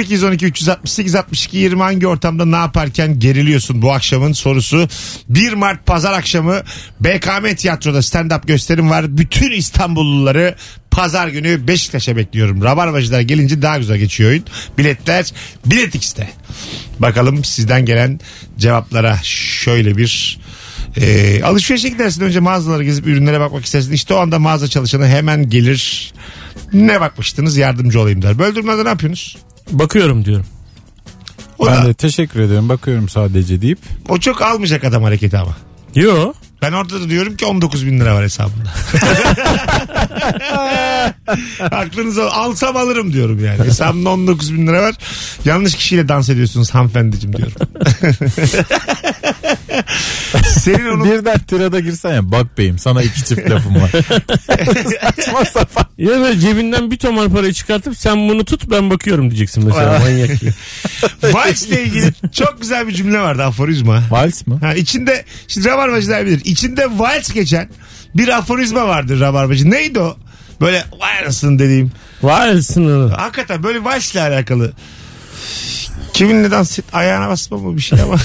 Speaker 2: 0212 368 62 20 hangi ortamda ne yaparken geriliyorsun bu akşamın sorusu. 1 Mart pazar akşamı BKM tiyatroda stand-up gösterim var. Bütün İstanbulluları pazar günü Beşiktaş'a bekliyorum. Rabarbacılar gelince daha güzel geçiyor oyun. Biletler Bilet X'te. Bakalım sizden gelen cevaplara şöyle bir e, alışverişe gidersin önce mağazalara gezip ürünlere bakmak istersin. İşte o anda mağaza çalışanı hemen gelir. Ne bakmıştınız yardımcı olayım der. Böldürmeden ne yapıyorsunuz?
Speaker 4: Bakıyorum diyorum.
Speaker 2: O,
Speaker 3: Ben
Speaker 2: da,
Speaker 3: de teşekkür ediyorum bakıyorum sadece deyip.
Speaker 2: o çok almayacak adam hareketi ama.
Speaker 4: Yo.
Speaker 2: Ben orada da diyorum ki 19 bin lira var hesabımda. <laughs> Aklınıza alsam alırım diyorum yani. Hesabımda 19 bin lira var. Yanlış kişiyle dans ediyorsunuz hanımefendiciğim diyorum. <laughs> Senin onu
Speaker 3: Birden tirada girsen ya bak beyim sana iki çift
Speaker 2: <laughs>
Speaker 3: lafım var. Saçma sapan.
Speaker 4: Ya böyle cebinden bir tomar parayı çıkartıp sen bunu tut ben bakıyorum diyeceksin mesela manyak gibi.
Speaker 2: Vice'le ilgili çok güzel bir cümle vardı aforizma.
Speaker 3: Vals mı?
Speaker 2: Ha, içinde şimdi rabarbacılar bilir. İçinde vals geçen bir aforizma vardır rabarbacı. Neydi o? Böyle vay anasını dediğim.
Speaker 4: Var sınırı.
Speaker 2: Hakikaten böyle valsle alakalı. Kiminle dans et? Ayağına basma mı bir şey ama. <laughs>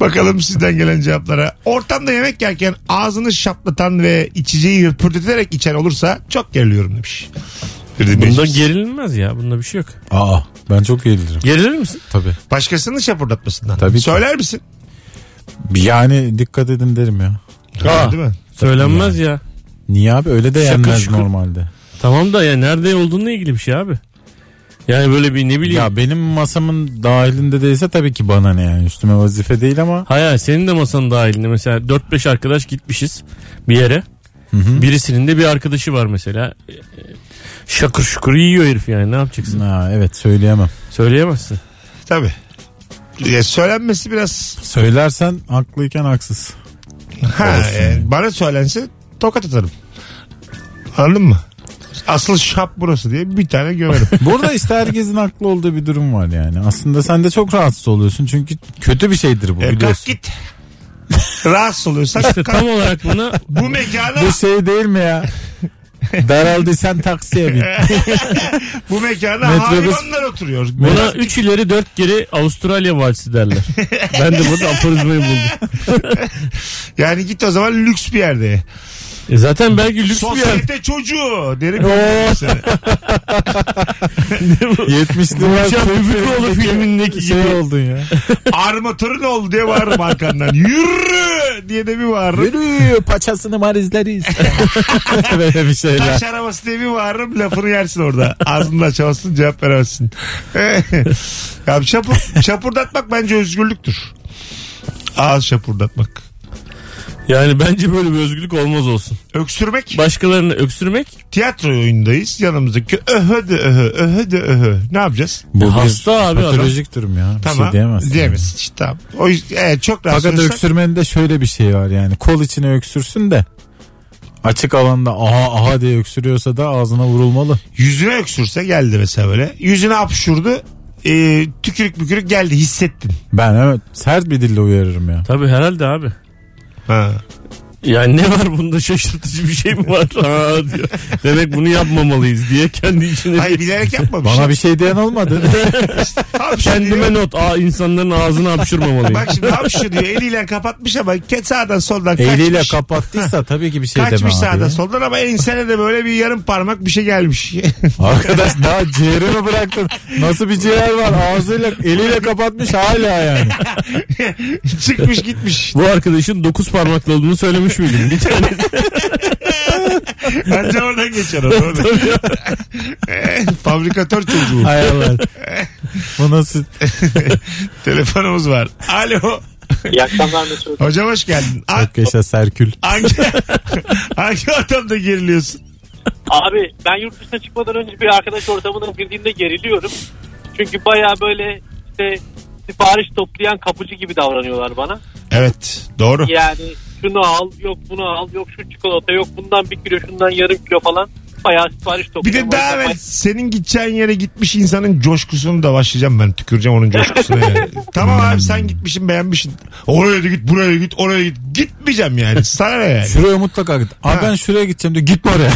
Speaker 2: Bakalım sizden gelen cevaplara. Ortamda yemek yerken ağzını şaplatan ve içeceği hırpırdeterek içen olursa çok geriliyorum demiş. Bir dinleyicimiz.
Speaker 4: Bunda gerilmez ya. Bunda bir şey yok.
Speaker 3: Aa ben çok gerilirim.
Speaker 4: Gerilir misin?
Speaker 3: Tabii.
Speaker 2: Başkasının şapırdatmasından.
Speaker 3: Tabii ki.
Speaker 2: Söyler misin?
Speaker 3: Yani dikkat edin derim ya.
Speaker 4: Aa,
Speaker 2: Değil mi?
Speaker 4: söylenmez ya.
Speaker 3: Niye abi öyle de
Speaker 4: Şakır
Speaker 3: yenmez
Speaker 4: şukur.
Speaker 3: normalde.
Speaker 4: Tamam da ya nerede olduğunla ilgili bir şey abi. Yani böyle bir ne bileyim.
Speaker 3: Ya benim masamın dahilinde değilse tabii ki bana ne yani üstüme vazife değil ama
Speaker 4: Hayır senin de masanın dahilinde mesela 4-5 arkadaş gitmişiz bir yere. Birisinin de bir arkadaşı var mesela. Ee, Şakır şukur yiyor herif yani ne yapacaksın?
Speaker 3: ha, evet söyleyemem.
Speaker 4: Söyleyemezsin.
Speaker 2: Tabii. Ya söylenmesi biraz
Speaker 3: Söylersen haklıyken haksız.
Speaker 2: ha,
Speaker 3: Olsun.
Speaker 2: e, bana söylense tokat atarım. Anladın mı? Asıl şap burası diye bir tane gömerim. E,
Speaker 3: Burada işte herkesin haklı olduğu bir durum var yani. Aslında sen de çok rahatsız oluyorsun çünkü kötü bir şeydir bu
Speaker 2: e, kalk
Speaker 3: biliyorsun.
Speaker 2: git. Rahatsız oluyorsan
Speaker 4: İşte
Speaker 2: kalk.
Speaker 4: tam olarak buna
Speaker 2: Bu mekana
Speaker 3: Bu şey değil mi ya? Daraldıysan
Speaker 2: <laughs>
Speaker 3: taksiye bin.
Speaker 2: bu mekana
Speaker 3: Metrobüs-
Speaker 2: hayvanlar oturuyor.
Speaker 4: Buna 3 ileri 4 geri Avustralya valsi derler. ben de burada aforizmayı buldum.
Speaker 2: Yani git o zaman lüks bir yerde.
Speaker 4: E zaten belki lüks bir yer.
Speaker 2: Sosyete çocuğu derim. Seni.
Speaker 3: 70'li
Speaker 4: Uçan Müfikoğlu filmindeki
Speaker 3: şey
Speaker 4: gibi.
Speaker 3: oldun ya.
Speaker 2: Armatörün oldu diye bağırırım arkandan. Yürü diye de bir bağırırım.
Speaker 3: Yürü
Speaker 2: <laughs>
Speaker 3: paçasını marizleriz. Böyle bir şeyler.
Speaker 2: Taş arabası diye bir bağırırım lafını yersin orada. Ağzını açamazsın cevap veremezsin. <laughs> ya şapur, şapurdatmak bence özgürlüktür. Ağız şapurdatmak.
Speaker 4: Yani bence böyle bir özgürlük olmaz olsun.
Speaker 2: Öksürmek.
Speaker 4: Başkalarını öksürmek
Speaker 2: Tiyatro oyundayız yanımızdaki öhö de öhö öhö de öhö. Ne yapacağız?
Speaker 3: Bu
Speaker 4: Hasta
Speaker 3: bir
Speaker 4: abi adam.
Speaker 3: patolojik durum ya. Bir
Speaker 2: Tamam.
Speaker 3: şey diyemezsin.
Speaker 2: Diyemezsin. İşte, tamam. O yüzden evet, çok rahatsız
Speaker 3: Fakat
Speaker 2: olursak-
Speaker 3: öksürmenin de şöyle bir şey var yani. Kol içine öksürsün de açık alanda aha aha diye öksürüyorsa da ağzına vurulmalı.
Speaker 2: Yüzüne öksürse geldi mesela böyle. Yüzüne apşurdu. E, tükürük mükürük geldi hissettin.
Speaker 3: Ben evet sert bir dille uyarırım ya.
Speaker 4: tabii herhalde abi.
Speaker 2: Ha.
Speaker 4: Yani ne var bunda şaşırtıcı bir şey mi <laughs> var? Ha, diyor. Demek bunu yapmamalıyız diye kendi içine
Speaker 2: Hayır bilerek yapmamış.
Speaker 3: Bana bir şey diyen olmadı.
Speaker 2: Hapşırıyor.
Speaker 4: kendime not. Aa insanların ağzını hapşırmamalıyım.
Speaker 2: Bak şimdi hapşırıyor eliyle kapatmış ama ke- sağdan soldan kaçmış.
Speaker 3: Eliyle kapattıysa tabii ki bir şey
Speaker 2: Kaçmış
Speaker 3: demem abi.
Speaker 2: sağdan
Speaker 3: ya.
Speaker 2: soldan ama ensene de böyle bir yarım parmak bir şey gelmiş. <laughs>
Speaker 3: Arkadaş daha ciğeri mi bıraktın? Nasıl bir ciğer var? Ağzıyla eliyle kapatmış hala yani.
Speaker 2: Çıkmış gitmiş.
Speaker 4: Bu arkadaşın dokuz parmaklı olduğunu söylemiş miydim? Bir tane
Speaker 2: Bence oradan geçer o. doğru. <laughs> Fabrikatör çocuğu.
Speaker 3: Hay Allah. Bu nasıl?
Speaker 2: <laughs> Telefonumuz var. Alo.
Speaker 5: İyi akşamlar Mesut.
Speaker 2: Hocam hoş geldin. Ha-
Speaker 3: Çok yaşa Serkül.
Speaker 2: hangi, <laughs> hangi ortamda geriliyorsun?
Speaker 5: Abi ben yurt dışına çıkmadan önce bir arkadaş ortamına girdiğimde geriliyorum. Çünkü baya böyle işte sipariş toplayan kapıcı gibi davranıyorlar bana.
Speaker 2: Evet doğru.
Speaker 5: Yani şunu al, yok bunu al, yok şu çikolata, yok bundan bir kilo, şundan yarım kilo falan. Bayağı sipariş
Speaker 2: Bir
Speaker 5: topluyorum.
Speaker 2: de daha evvel senin gideceğin yere gitmiş insanın coşkusunu da başlayacağım ben. Tüküreceğim onun coşkusuna yani. tamam abi sen gitmişsin beğenmişsin. Oraya da git buraya da git oraya da git. Gitmeyeceğim yani. Sana ne
Speaker 3: <laughs>
Speaker 2: yani?
Speaker 3: Şuraya mutlaka git. Abi ben şuraya gideceğim diyor. Gitme oraya.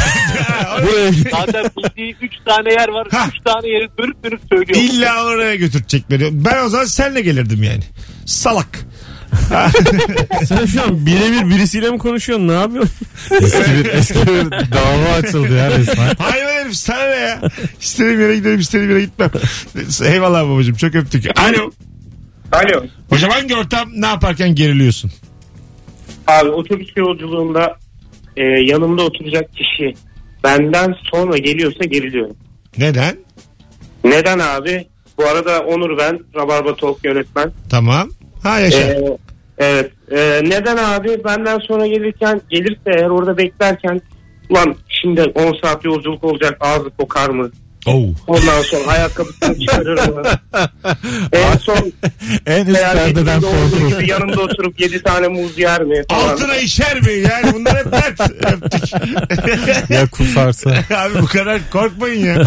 Speaker 3: Buraya git.
Speaker 5: Zaten bildiği 3 tane yer var.
Speaker 2: Ha.
Speaker 5: 3 tane yeri dönüp dönüp söylüyor.
Speaker 2: İlla oraya götürecek beni. Ben o zaman senle gelirdim yani. Salak.
Speaker 4: sen şu an birebir birisiyle mi konuşuyorsun? Ne yapıyorsun?
Speaker 3: Eski bir, eski bir dava açıldı ya resmen.
Speaker 2: Hayvan herif sana ne ya? İstediğim yere giderim istediğim yere gitmem. Eyvallah babacığım çok öptük. Alo.
Speaker 9: Alo.
Speaker 2: Hocam hangi ortam ne yaparken geriliyorsun?
Speaker 9: Abi otobüs yolculuğunda e, yanımda oturacak kişi benden sonra geliyorsa geriliyorum.
Speaker 2: Neden?
Speaker 9: Neden abi? Bu arada Onur ben, Rabarba Talk yönetmen.
Speaker 2: Tamam. Ha yaşa.
Speaker 10: Ee,
Speaker 9: E, evet. E, neden abi? Benden sonra gelirken gelirse eğer orada beklerken ulan şimdi 10 saat yolculuk olacak ağzı kokar mı?
Speaker 2: Oh.
Speaker 9: Ondan sonra ayakkabısını çıkarır mı? en son
Speaker 3: En üst
Speaker 9: hayal
Speaker 3: perdeden
Speaker 9: ettiğimde olduğu
Speaker 3: korkulur.
Speaker 9: gibi yanımda oturup 7 tane muz yer mi? falan.
Speaker 2: Altına işer mi? Yani bunlar hep dert.
Speaker 3: <laughs>
Speaker 2: Öptük.
Speaker 3: Ya kusarsa.
Speaker 2: Abi bu kadar korkmayın ya.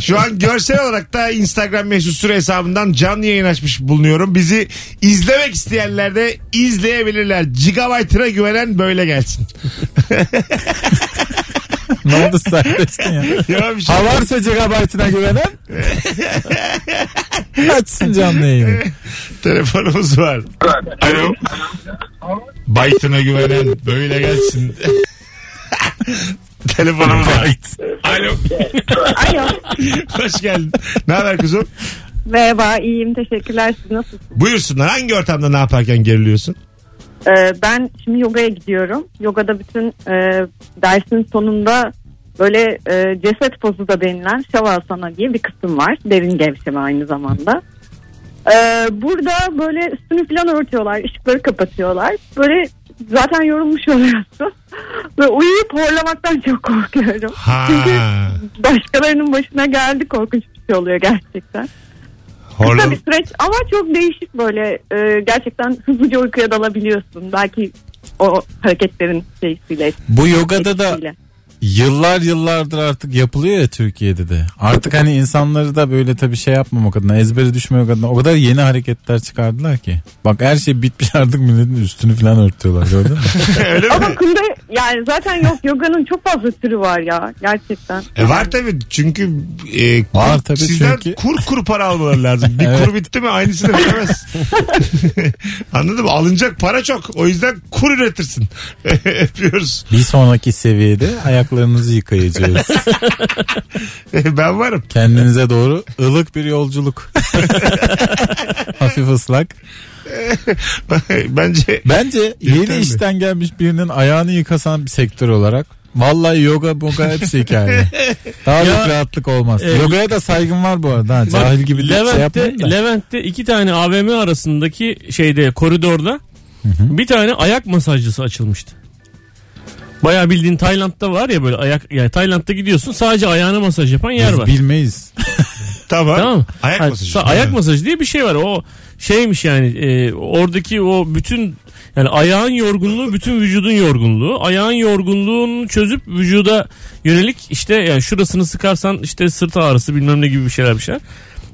Speaker 2: Şu an görsel olarak da Instagram mesut süre hesabından canlı yayın açmış bulunuyorum. Bizi izlemek isteyenler de izleyebilirler. Gigabyte'ına güvenen böyle gelsin.
Speaker 3: Ne oldu serbestin ya?
Speaker 2: Ya bir şey.
Speaker 3: Ha varsa gigabyte'ına güvenen açsın canlı yayını.
Speaker 2: Telefonumuz var. Alo. Byte'ına güvenen böyle gelsin. Telefonum var. Alo.
Speaker 10: Alo.
Speaker 2: Hoş geldin. Ne haber kuzum?
Speaker 10: Merhaba iyiyim teşekkürler siz nasılsınız?
Speaker 2: Buyursunlar. Hangi ortamda ne yaparken geriliyorsun?
Speaker 10: Ee, ben şimdi yogaya gidiyorum. Yogada bütün e, dersin sonunda böyle e, ceset pozu da denilen şavasana diye bir kısım var. Derin gevşeme aynı zamanda. Ee, burada böyle üstünü falan örtüyorlar. ışıkları kapatıyorlar. Böyle zaten yorulmuş oluyorsun. Ve uyuyup horlamaktan çok korkuyorum.
Speaker 2: Ha.
Speaker 10: Çünkü başkalarının başına geldi korkunç bir şey oluyor gerçekten. Kısa bir
Speaker 2: Horlam-
Speaker 10: süreç ama çok değişik böyle e, gerçekten hızlıca uykuya dalabiliyorsun. Belki o hareketlerin şeysiyle.
Speaker 3: Bu yogada da
Speaker 10: etkisiyle.
Speaker 3: yıllar yıllardır artık yapılıyor ya Türkiye'de de. Artık hani insanları da böyle tabii şey yapmamak adına ezbere düşmemek adına o kadar yeni hareketler çıkardılar ki. Bak her şey bitmiş artık milletin üstünü falan örtüyorlar gördün <laughs> mü?
Speaker 2: Öyle mi?
Speaker 10: Ama kunda yani zaten yok yoganın çok fazla türü var ya gerçekten.
Speaker 2: E var tabii çünkü e, kur,
Speaker 3: Var tabii
Speaker 2: sizden
Speaker 3: çünkü-
Speaker 2: kur kur para almaları
Speaker 4: <laughs>
Speaker 2: lazım. Bir
Speaker 3: Evet.
Speaker 2: kur bitti mi aynısını veremez. <laughs> Anladın mı? Alınacak para çok. O yüzden kur üretirsin. <laughs> Öpüyoruz. <laughs>
Speaker 3: Bir sonraki seviyede ayaklarınızı yıkayacağız.
Speaker 2: E, ben varım. <laughs>
Speaker 3: Kendinize doğru ılık bir yolculuk. <laughs> Hafif ıslak.
Speaker 2: Bence
Speaker 3: Bence
Speaker 2: Yeter mi?
Speaker 3: yeni işten gelmiş birinin ayağını yıkasan bir sektör olarak Vallahi yoga boga hepsi hikaye. Daha
Speaker 4: Ya,
Speaker 3: büyük rahatlık olmaz.
Speaker 4: e,
Speaker 3: Yogaya da saygım var bu arada. Ha,
Speaker 4: Bak,
Speaker 3: cahil gibi de şey
Speaker 4: Levent'te,
Speaker 3: yapmayın da.
Speaker 4: Levent'te iki tane AVM arasındaki şeyde koridorda bir tane ayak masajcısı açılmıştı. Bayağı bildiğin Tayland'da var ya böyle ayak yani Tayland'da gidiyorsun sadece ayağına masaj yapan yer
Speaker 3: Biz
Speaker 4: var.
Speaker 3: bilmeyiz.
Speaker 2: tamam.
Speaker 4: Tamam mı?
Speaker 2: Ayak
Speaker 4: Ha,
Speaker 2: masajı.
Speaker 4: sa- ayak masajı diye bir şey var. O şeymiş yani e, oradaki o bütün yani ayağın yorgunluğu bütün vücudun yorgunluğu. Ayağın yorgunluğunu çözüp vücuda yönelik işte yani şurasını sıkarsan işte sırt ağrısı bilmem ne gibi bir şeyler bir şeyler.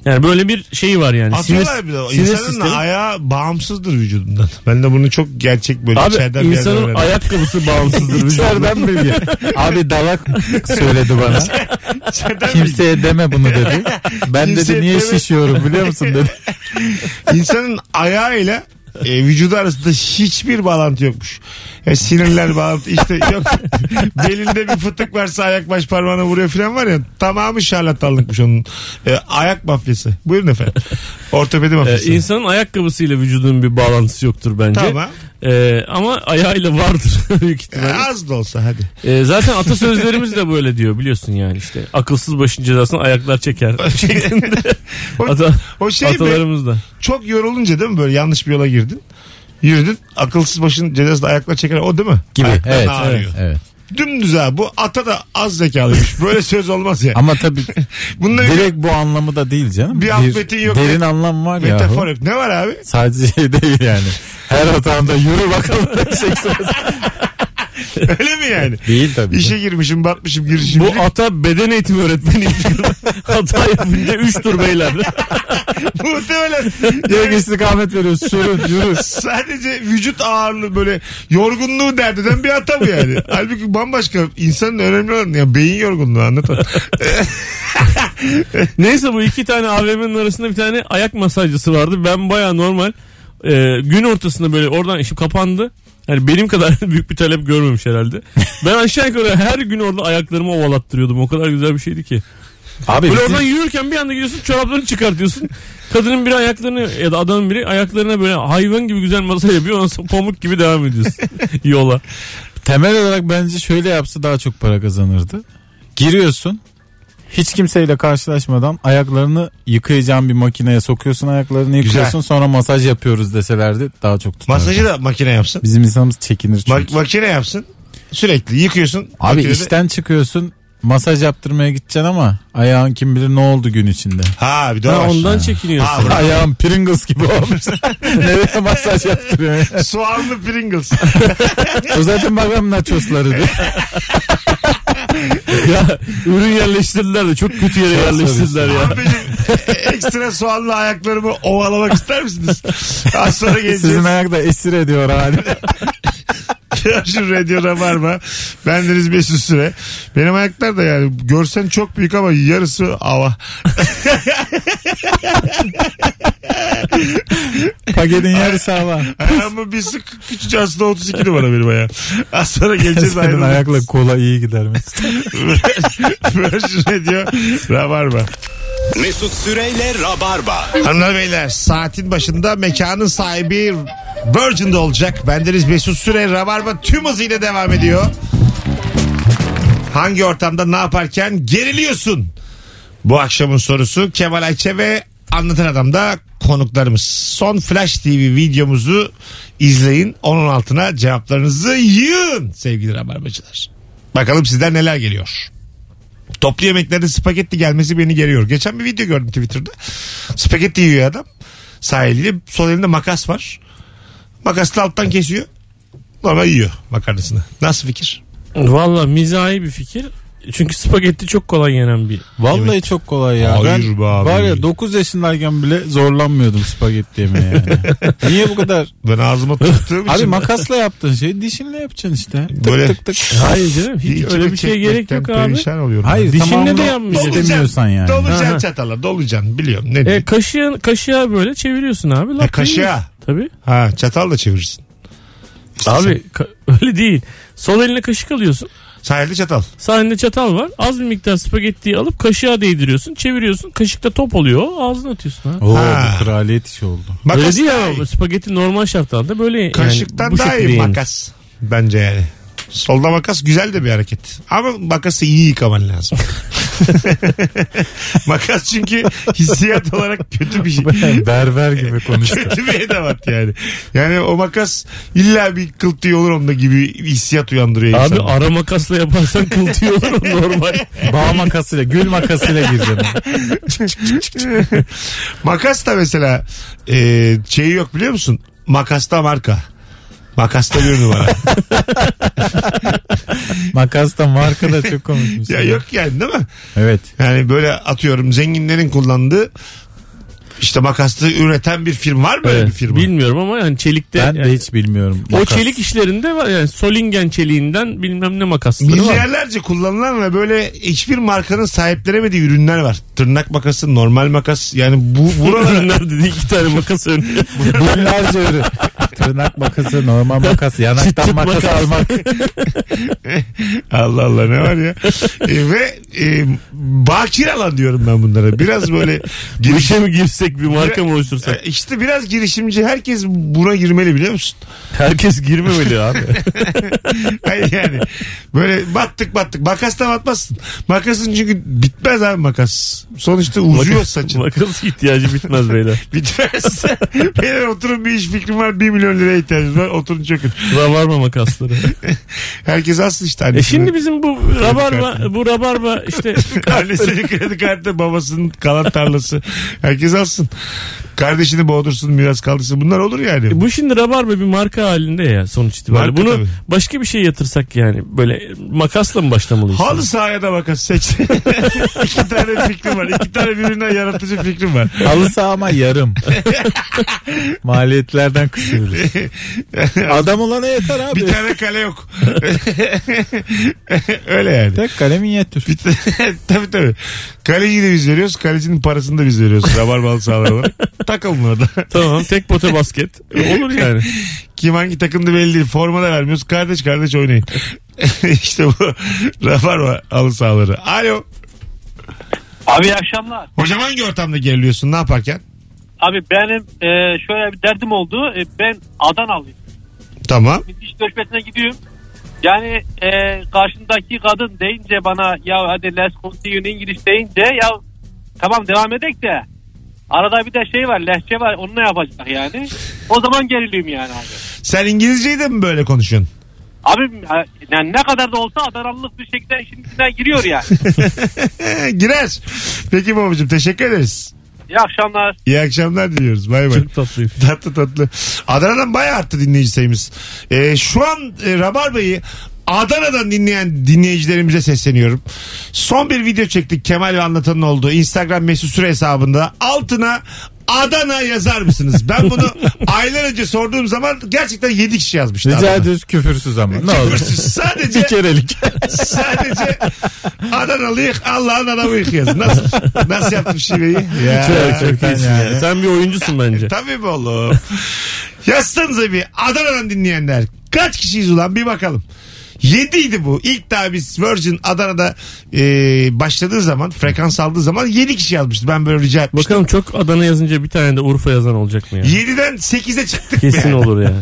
Speaker 4: Yani böyle bir şey var yani.
Speaker 2: Atıyorlar bir de. o. İnsanın
Speaker 4: sistemi-
Speaker 2: ayağı bağımsızdır vücudundan. Ben de bunu çok gerçek böyle
Speaker 4: Abi
Speaker 2: içeriden bir yerden
Speaker 4: insanın
Speaker 2: öğrendim.
Speaker 4: ayakkabısı bağımsızdır.
Speaker 3: İçeriden mi diye. Abi dalak söyledi
Speaker 4: <laughs>
Speaker 3: bana.
Speaker 2: İçeriden bir-
Speaker 3: Kimseye deme bunu dedi. Ben
Speaker 2: Kimseye
Speaker 3: dedi niye
Speaker 2: deme."
Speaker 3: şişiyorum biliyor musun dedi.
Speaker 2: İnsanın ayağıyla e, vücudu arasında hiçbir bağlantı yokmuş. E, sinirler bağlantı işte yok. <laughs> Belinde bir fıtık varsa ayak baş parmağına vuruyor falan var ya. Tamamı şarlatanlıkmış onun. E, ayak mafyası. Buyurun efendim.
Speaker 3: E,
Speaker 2: Ortopedi
Speaker 4: Ee,
Speaker 2: mafyası.
Speaker 4: insanın ayakkabısıyla vücudunun bir bağlantısı yoktur bence.
Speaker 2: Tamam.
Speaker 4: Ee, ama ayağıyla vardır <laughs> büyük
Speaker 2: E,
Speaker 4: ihtimalle.
Speaker 2: az da olsa
Speaker 3: <laughs>
Speaker 2: hadi.
Speaker 4: Ee, zaten atasözlerimiz de böyle diyor biliyorsun yani işte. Akılsız başın cezasını ayaklar çeker. şeklinde.
Speaker 2: O,
Speaker 4: Ata,
Speaker 2: o şey mi?
Speaker 4: atalarımız da.
Speaker 2: çok yorulunca değil mi böyle yanlış bir yola girdin? Yürüdün akılsız başın cezasını ayaklar çeker o değil mi?
Speaker 3: Gibi.
Speaker 2: Ayakların
Speaker 3: Evet,
Speaker 2: ağrıyor.
Speaker 3: evet, evet.
Speaker 2: Dümdüz ha bu ata da az zekalıymış. Böyle söz olmaz ya.
Speaker 3: Ama tabii
Speaker 2: Bunda bir
Speaker 3: direkt bu anlamı da değil canım.
Speaker 2: Bir affetin yok.
Speaker 3: Derin anlam var ya.
Speaker 2: metafor yok. Ne var
Speaker 4: <laughs>
Speaker 2: abi?
Speaker 3: Sadece şey değil yani. Her hatamda yürü
Speaker 2: <laughs>
Speaker 3: bakalım.
Speaker 2: Öyle mi yani?
Speaker 3: değil tabii.
Speaker 2: İşe girmişim, batmışım, girişim.
Speaker 4: Bu ata beden eğitimi öğretmeni. <laughs> Hata yapınca 3 tur beyler.
Speaker 2: <laughs>
Speaker 4: <laughs>
Speaker 2: Muhtemelen
Speaker 3: Direkt istikamet veriyoruz. Sürün yürü.
Speaker 2: sadece vücut ağırlığı böyle yorgunluğu dert eden bir hata bu
Speaker 4: <laughs>
Speaker 2: yani. Halbuki bambaşka insanın önemli olan ya beyin yorgunluğu
Speaker 4: <laughs>
Speaker 2: anlatan.
Speaker 4: Neyse bu iki tane AVM'nin arasında bir tane ayak masajcısı vardı. Ben baya normal e, gün ortasında böyle oradan işim kapandı. Yani benim kadar <laughs> büyük bir talep görmemiş herhalde. Ben aşağı yukarı her gün orada ayaklarımı ovalattırıyordum. O kadar güzel bir şeydi ki.
Speaker 3: Abi
Speaker 4: Böyle
Speaker 3: bizim-
Speaker 4: oradan yürürken bir anda gidiyorsun çoraplarını çıkartıyorsun. Kadının biri ayaklarını ya da adamın biri ayaklarına böyle hayvan gibi güzel masaj yapıyor. Ondan sonra pamuk gibi devam ediyorsun yola.
Speaker 3: temel olarak bence şöyle yapsa daha çok para kazanırdı. Giriyorsun. Hiç kimseyle karşılaşmadan ayaklarını yıkayacağın bir makineye sokuyorsun ayaklarını yıkıyorsun sonra masaj yapıyoruz deselerdi daha çok tutardı.
Speaker 2: Masajı da makine yapsın.
Speaker 3: Bizim insanımız çekinir çünkü.
Speaker 2: Ma- makine yapsın. Sürekli yıkıyorsun.
Speaker 3: Abi
Speaker 2: Makinede-
Speaker 3: işten çıkıyorsun masaj yaptırmaya gideceksin ama ayağın kim bilir ne oldu gün içinde.
Speaker 2: Ha bir de o
Speaker 4: Ha,
Speaker 2: var.
Speaker 4: ondan çekiniyorsun.
Speaker 2: Ha, bravo.
Speaker 3: Ayağım Pringles gibi
Speaker 2: <laughs>
Speaker 3: olmuş. Nereye masaj yaptırıyor? ya?
Speaker 2: Soğanlı Pringles.
Speaker 3: Uzatın bakalım nachosları
Speaker 2: <laughs>
Speaker 3: diye.
Speaker 4: ya, ürün yerleştirdiler de çok kötü yere yerleştirdiler <laughs> ya.
Speaker 2: Abicim e, ekstra soğanlı ayaklarımı ovalamak ister
Speaker 4: <laughs>
Speaker 2: misiniz? Az sonra geleceğiz.
Speaker 3: Sizin ayak da esir ediyor hali.
Speaker 2: Şu radyoda var mı? Bendeniz Mesut Süre. Benim ayaklar da yani görsen çok büyük ama yarısı ava.
Speaker 3: Paketin yarısı hava.
Speaker 2: <laughs> Ayağımı bir sık küçücük aslında 32 numara benim ayağım. Az sonra geleceğiz
Speaker 3: Senin
Speaker 2: ayrılmayız.
Speaker 3: ayakla kola iyi gider mi?
Speaker 2: <laughs> Virgin Radio Rabarba.
Speaker 1: Mesut Süreyle Rabarba.
Speaker 2: Hanımlar beyler saatin başında mekanın sahibi Virgin'de olacak. Bendeniz Mesut Süre Rabarba tüm hızıyla devam ediyor. Hangi ortamda ne yaparken geriliyorsun? Bu akşamın sorusu Kemal Ayçe ve Anlatan Adam da konuklarımız. Son Flash TV videomuzu izleyin. Onun altına cevaplarınızı yığın sevgili Rabarbacılar. Bakalım sizden neler geliyor. Toplu yemeklerde spagetti gelmesi beni geriyor. Geçen bir video gördüm Twitter'da. Spagetti yiyor adam. Sağ eliyle sol elinde makas var. Makasla alttan kesiyor. Normal yiyor makarnasını. Nasıl fikir?
Speaker 4: Valla mizahi bir fikir. Çünkü spagetti çok kolay yenen bir.
Speaker 3: Vallahi çok kolay ya.
Speaker 2: Hayır
Speaker 3: ben
Speaker 2: be abi.
Speaker 3: var ya 9 yaşındayken bile zorlanmıyordum spagetti
Speaker 2: <laughs>
Speaker 3: yemeye yani. Niye bu kadar?
Speaker 2: Ben
Speaker 4: <laughs>
Speaker 2: ağzıma tuttuğum
Speaker 3: Abi
Speaker 2: için
Speaker 3: makasla yaptığın şeyi dişinle yapacaksın işte.
Speaker 2: <laughs>
Speaker 3: Tık
Speaker 2: Böyle-
Speaker 3: tık tık.
Speaker 4: Hayır canım şey hiç
Speaker 2: içimi
Speaker 4: öyle bir şeye gerek yok
Speaker 2: çekmekten
Speaker 4: abi.
Speaker 2: Perişan oluyorum.
Speaker 3: Hayır
Speaker 4: Dişinle
Speaker 3: tamamını
Speaker 4: de yapmayacaksın.
Speaker 3: istemiyorsan yani.
Speaker 2: Dolacaksın
Speaker 4: Aha.
Speaker 2: çatala dolacaksın biliyorum. Ne
Speaker 4: E,
Speaker 2: diyeyim?
Speaker 4: kaşığı, kaşığa böyle çeviriyorsun abi. lap
Speaker 2: Ha, E, kaşığa.
Speaker 4: yiyorsun. Tabii.
Speaker 2: Ha çatal da çevirirsin.
Speaker 4: <laughs> Abi ka- öyle değil. Sol eline kaşık alıyorsun.
Speaker 2: Sahilde çatal.
Speaker 4: Sahnede çatal var. Az bir miktar spagettiyi alıp kaşığa değdiriyorsun. Çeviriyorsun. Kaşıkta top oluyor. Ağzına atıyorsun. Ha.
Speaker 3: Oo
Speaker 2: Ha.
Speaker 3: bu kraliyet işi oldu.
Speaker 2: <laughs>
Speaker 4: Öyle
Speaker 2: Makas
Speaker 4: değil
Speaker 2: daha iyi.
Speaker 4: ama spagetti normal şartlarda böyle yani
Speaker 2: Kaşıktan
Speaker 4: bu
Speaker 2: daha iyi
Speaker 4: şekilde yenir.
Speaker 2: makas. Bence yani. Solda makas güzel de bir hareket. Ama makası iyi yıkaman
Speaker 4: <laughs>
Speaker 2: lazım. makas çünkü hissiyat olarak kötü bir
Speaker 4: <laughs>
Speaker 2: şey. <laughs>
Speaker 3: Berber gibi konuştu.
Speaker 2: kötü bir edevat yani. Yani o makas illa bir kıl tüyü olur onda gibi bir hissiyat uyandırıyor
Speaker 4: Abi
Speaker 2: insanı.
Speaker 4: ara makasla yaparsan kıltıyor olur normal.
Speaker 3: Bağ makasıyla, gül makasıyla gireceksin.
Speaker 2: <laughs> makas da mesela e, şeyi yok biliyor musun? Makasta marka. Makasta bir
Speaker 4: <laughs>
Speaker 2: numara.
Speaker 3: Makas da marka da çok komikmiş.
Speaker 2: ya yok yani değil mi?
Speaker 3: Evet.
Speaker 2: Yani böyle atıyorum zenginlerin kullandığı işte makaslı üreten bir firma var mı böyle
Speaker 4: Evet.
Speaker 2: bir firma?
Speaker 4: Bilmiyorum ama yani çelikte
Speaker 3: Ben
Speaker 4: yani
Speaker 3: de hiç bilmiyorum.
Speaker 4: o
Speaker 3: Makas.
Speaker 4: çelik işlerinde var yani solingen çeliğinden bilmem ne makasları var.
Speaker 2: Milyarlarca kullanılan ve böyle hiçbir markanın sahiplenemediği ürünler var. Tırnak makası, normal makas. Yani bu buralara
Speaker 4: Bunlar dedi iki tane makas önüne.
Speaker 3: <laughs> Bunlarca ürün. Tırnak makası, normal makas, yanaktan
Speaker 4: Çıt
Speaker 3: makas
Speaker 4: makas. <laughs>
Speaker 3: almak.
Speaker 2: <laughs> Allah Allah ne var ya. E, ve e, bakir alan diyorum ben bunlara. Biraz böyle
Speaker 4: Bu
Speaker 2: girişim
Speaker 4: işe mi girsek bir marka mı
Speaker 2: E,
Speaker 3: <laughs>
Speaker 4: oluştursak?
Speaker 2: işte biraz girişimci herkes buna girmeli biliyor musun?
Speaker 4: Herkes girmemeli abi. <laughs>
Speaker 2: Hayır yani böyle battık battık. Makasla batmazsın. Makasın çünkü bitmez abi makas. Sonuçta uzuyor saçın.
Speaker 4: Makas ihtiyacı
Speaker 2: <laughs>
Speaker 4: bitmez beyler.
Speaker 2: Bitmez. Beyler oturun bir iş fikrim var. 1 milyon liraya ihtiyacım var. Oturun çökün. <laughs>
Speaker 4: Rabarba makasları.
Speaker 2: Herkes alsın işte annesini.
Speaker 4: E şimdi
Speaker 2: <laughs>
Speaker 4: <laughs> bizim bu rabarba bu rabarba işte
Speaker 2: Annesinin kredi kartı, babasının kalan tarlası. Herkes alsın. Kardeşini boğdursun, miras kaldırsın. Bunlar olur yani.
Speaker 4: E bu şimdi rabarba bir marka halinde ya sonuç itibariyle.
Speaker 2: Marka
Speaker 4: Bunu
Speaker 2: tabii.
Speaker 4: başka bir şey yatırsak yani böyle makasla mı başlamalıyız?
Speaker 2: Halı sahaya da makas seç. <laughs> iki tane fikrim var. İki tane birbirinden yaratıcı fikrim var.
Speaker 3: Halı saha ama yarım. Maliyetlerden kısıyoruz.
Speaker 2: <laughs>
Speaker 3: Adam olana yeter abi.
Speaker 2: Bir tane kale yok. <laughs> Öyle yani.
Speaker 3: Tek kale minyatür.
Speaker 2: Bir ta- <laughs> tabii tabii. Kaleciyi de biz veriyoruz. Kalecinin parasını da biz veriyoruz. Rabarbalı sahalar olarak. Takılın orada.
Speaker 4: Tamam tek
Speaker 2: <laughs>
Speaker 4: pote basket. E, Olur <laughs> yani.
Speaker 2: Kim hangi takımda belli değil. Forma da vermiyoruz. Kardeş kardeş oynayın. <laughs> işte bu Rabarba halı sahaları. Alo.
Speaker 5: Abi iyi akşamlar.
Speaker 2: Hocam hangi ortamda geriliyorsun? Ne yaparken?
Speaker 5: Abi benim e, şöyle bir derdim oldu. E, ben Adanalıyım.
Speaker 2: Tamam.
Speaker 5: Bir diş görüşmesine gidiyorum. Yani e, karşımdaki kadın deyince bana ya hadi let's continue in English deyince ya tamam devam edek de arada bir de şey var lehçe var onu ne yapacak yani. O zaman geriliyorum yani abi.
Speaker 2: Sen İngilizceyi de mi böyle konuşuyorsun? <laughs>
Speaker 5: Abi e, yani ne kadar da olsa Adanalılık bir şekilde işin içine giriyor yani.
Speaker 2: Girer. Peki babacığım teşekkür ederiz.
Speaker 5: İyi akşamlar.
Speaker 2: İyi akşamlar diliyoruz. Bay bay.
Speaker 4: Çok tatlıyım.
Speaker 2: <laughs> tatlı tatlı. Adana'dan bayağı arttı dinleyici sayımız. Ee, şu an e, Rabarba'yı Adana'dan dinleyen dinleyicilerimize sesleniyorum. Son bir video çektik Kemal ve Anlatan'ın olduğu Instagram mesut süre hesabında. Altına Adana yazar mısınız? Ben
Speaker 3: <laughs>
Speaker 2: bunu aylar önce sorduğum zaman gerçekten 7 kişi yazmıştı.
Speaker 3: Rica
Speaker 2: Adana.
Speaker 3: ediyoruz küfürsüz ama. Ne <laughs> olur.
Speaker 2: Küfürsüz. Sadece
Speaker 3: Bir kerelik.
Speaker 2: sadece Adanalıyık Allah'ın adamıyık yazın. Nasıl, nasıl yaptım şiveyi? Ya.
Speaker 4: Çok, çok
Speaker 3: hakikaten
Speaker 4: iyisin
Speaker 3: yani.
Speaker 4: ya. Sen bir
Speaker 2: E,
Speaker 4: oyuncusun bence.
Speaker 2: Tabii be oğlum. Yazsanıza bir Adana'dan dinleyenler. Kaç kişiyiz ulan bir bakalım. 7 idi bu. İlk daha biz Virgin Adana'da e, başladığı zaman frekans aldığı zaman 7 kişi yazmıştı. Ben böyle rica etmiştim.
Speaker 4: Bakalım çok Adana yazınca bir tane de Urfa yazan olacak mı ya?
Speaker 2: 7'den 8'e çıktık. <laughs>
Speaker 4: Kesin
Speaker 2: yani.
Speaker 4: olur yani.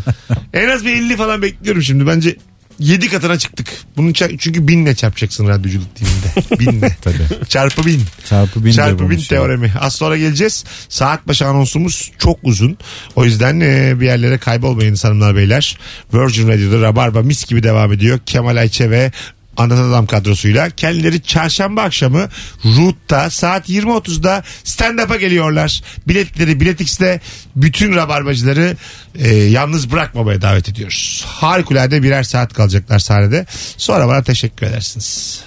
Speaker 2: En az bir 50 falan bekliyorum şimdi. Bence 7 katına çıktık. Bunun ça- çünkü binle çarpacaksın radyoculuk dilinde. Binle.
Speaker 3: Tabii.
Speaker 2: Çarpı bin.
Speaker 3: Çarpı bin de
Speaker 2: Çarpı bin
Speaker 3: bulmuş ya.
Speaker 2: teoremi. Az sonra geleceğiz. Saat başı anonsumuz çok uzun. O yüzden e, bir yerlere kaybolmayınız hanımlar beyler. Virgin Radio'da Rabarba mis gibi devam ediyor. Kemal Ayçe ve Anlatan Adam kadrosuyla. Kendileri çarşamba akşamı Root'ta saat 20.30'da stand-up'a geliyorlar. Biletleri Biletix'te bütün rabarbacıları e, yalnız bırakmamaya davet ediyoruz. Harikulade birer saat kalacaklar sahnede. Sonra bana teşekkür edersiniz.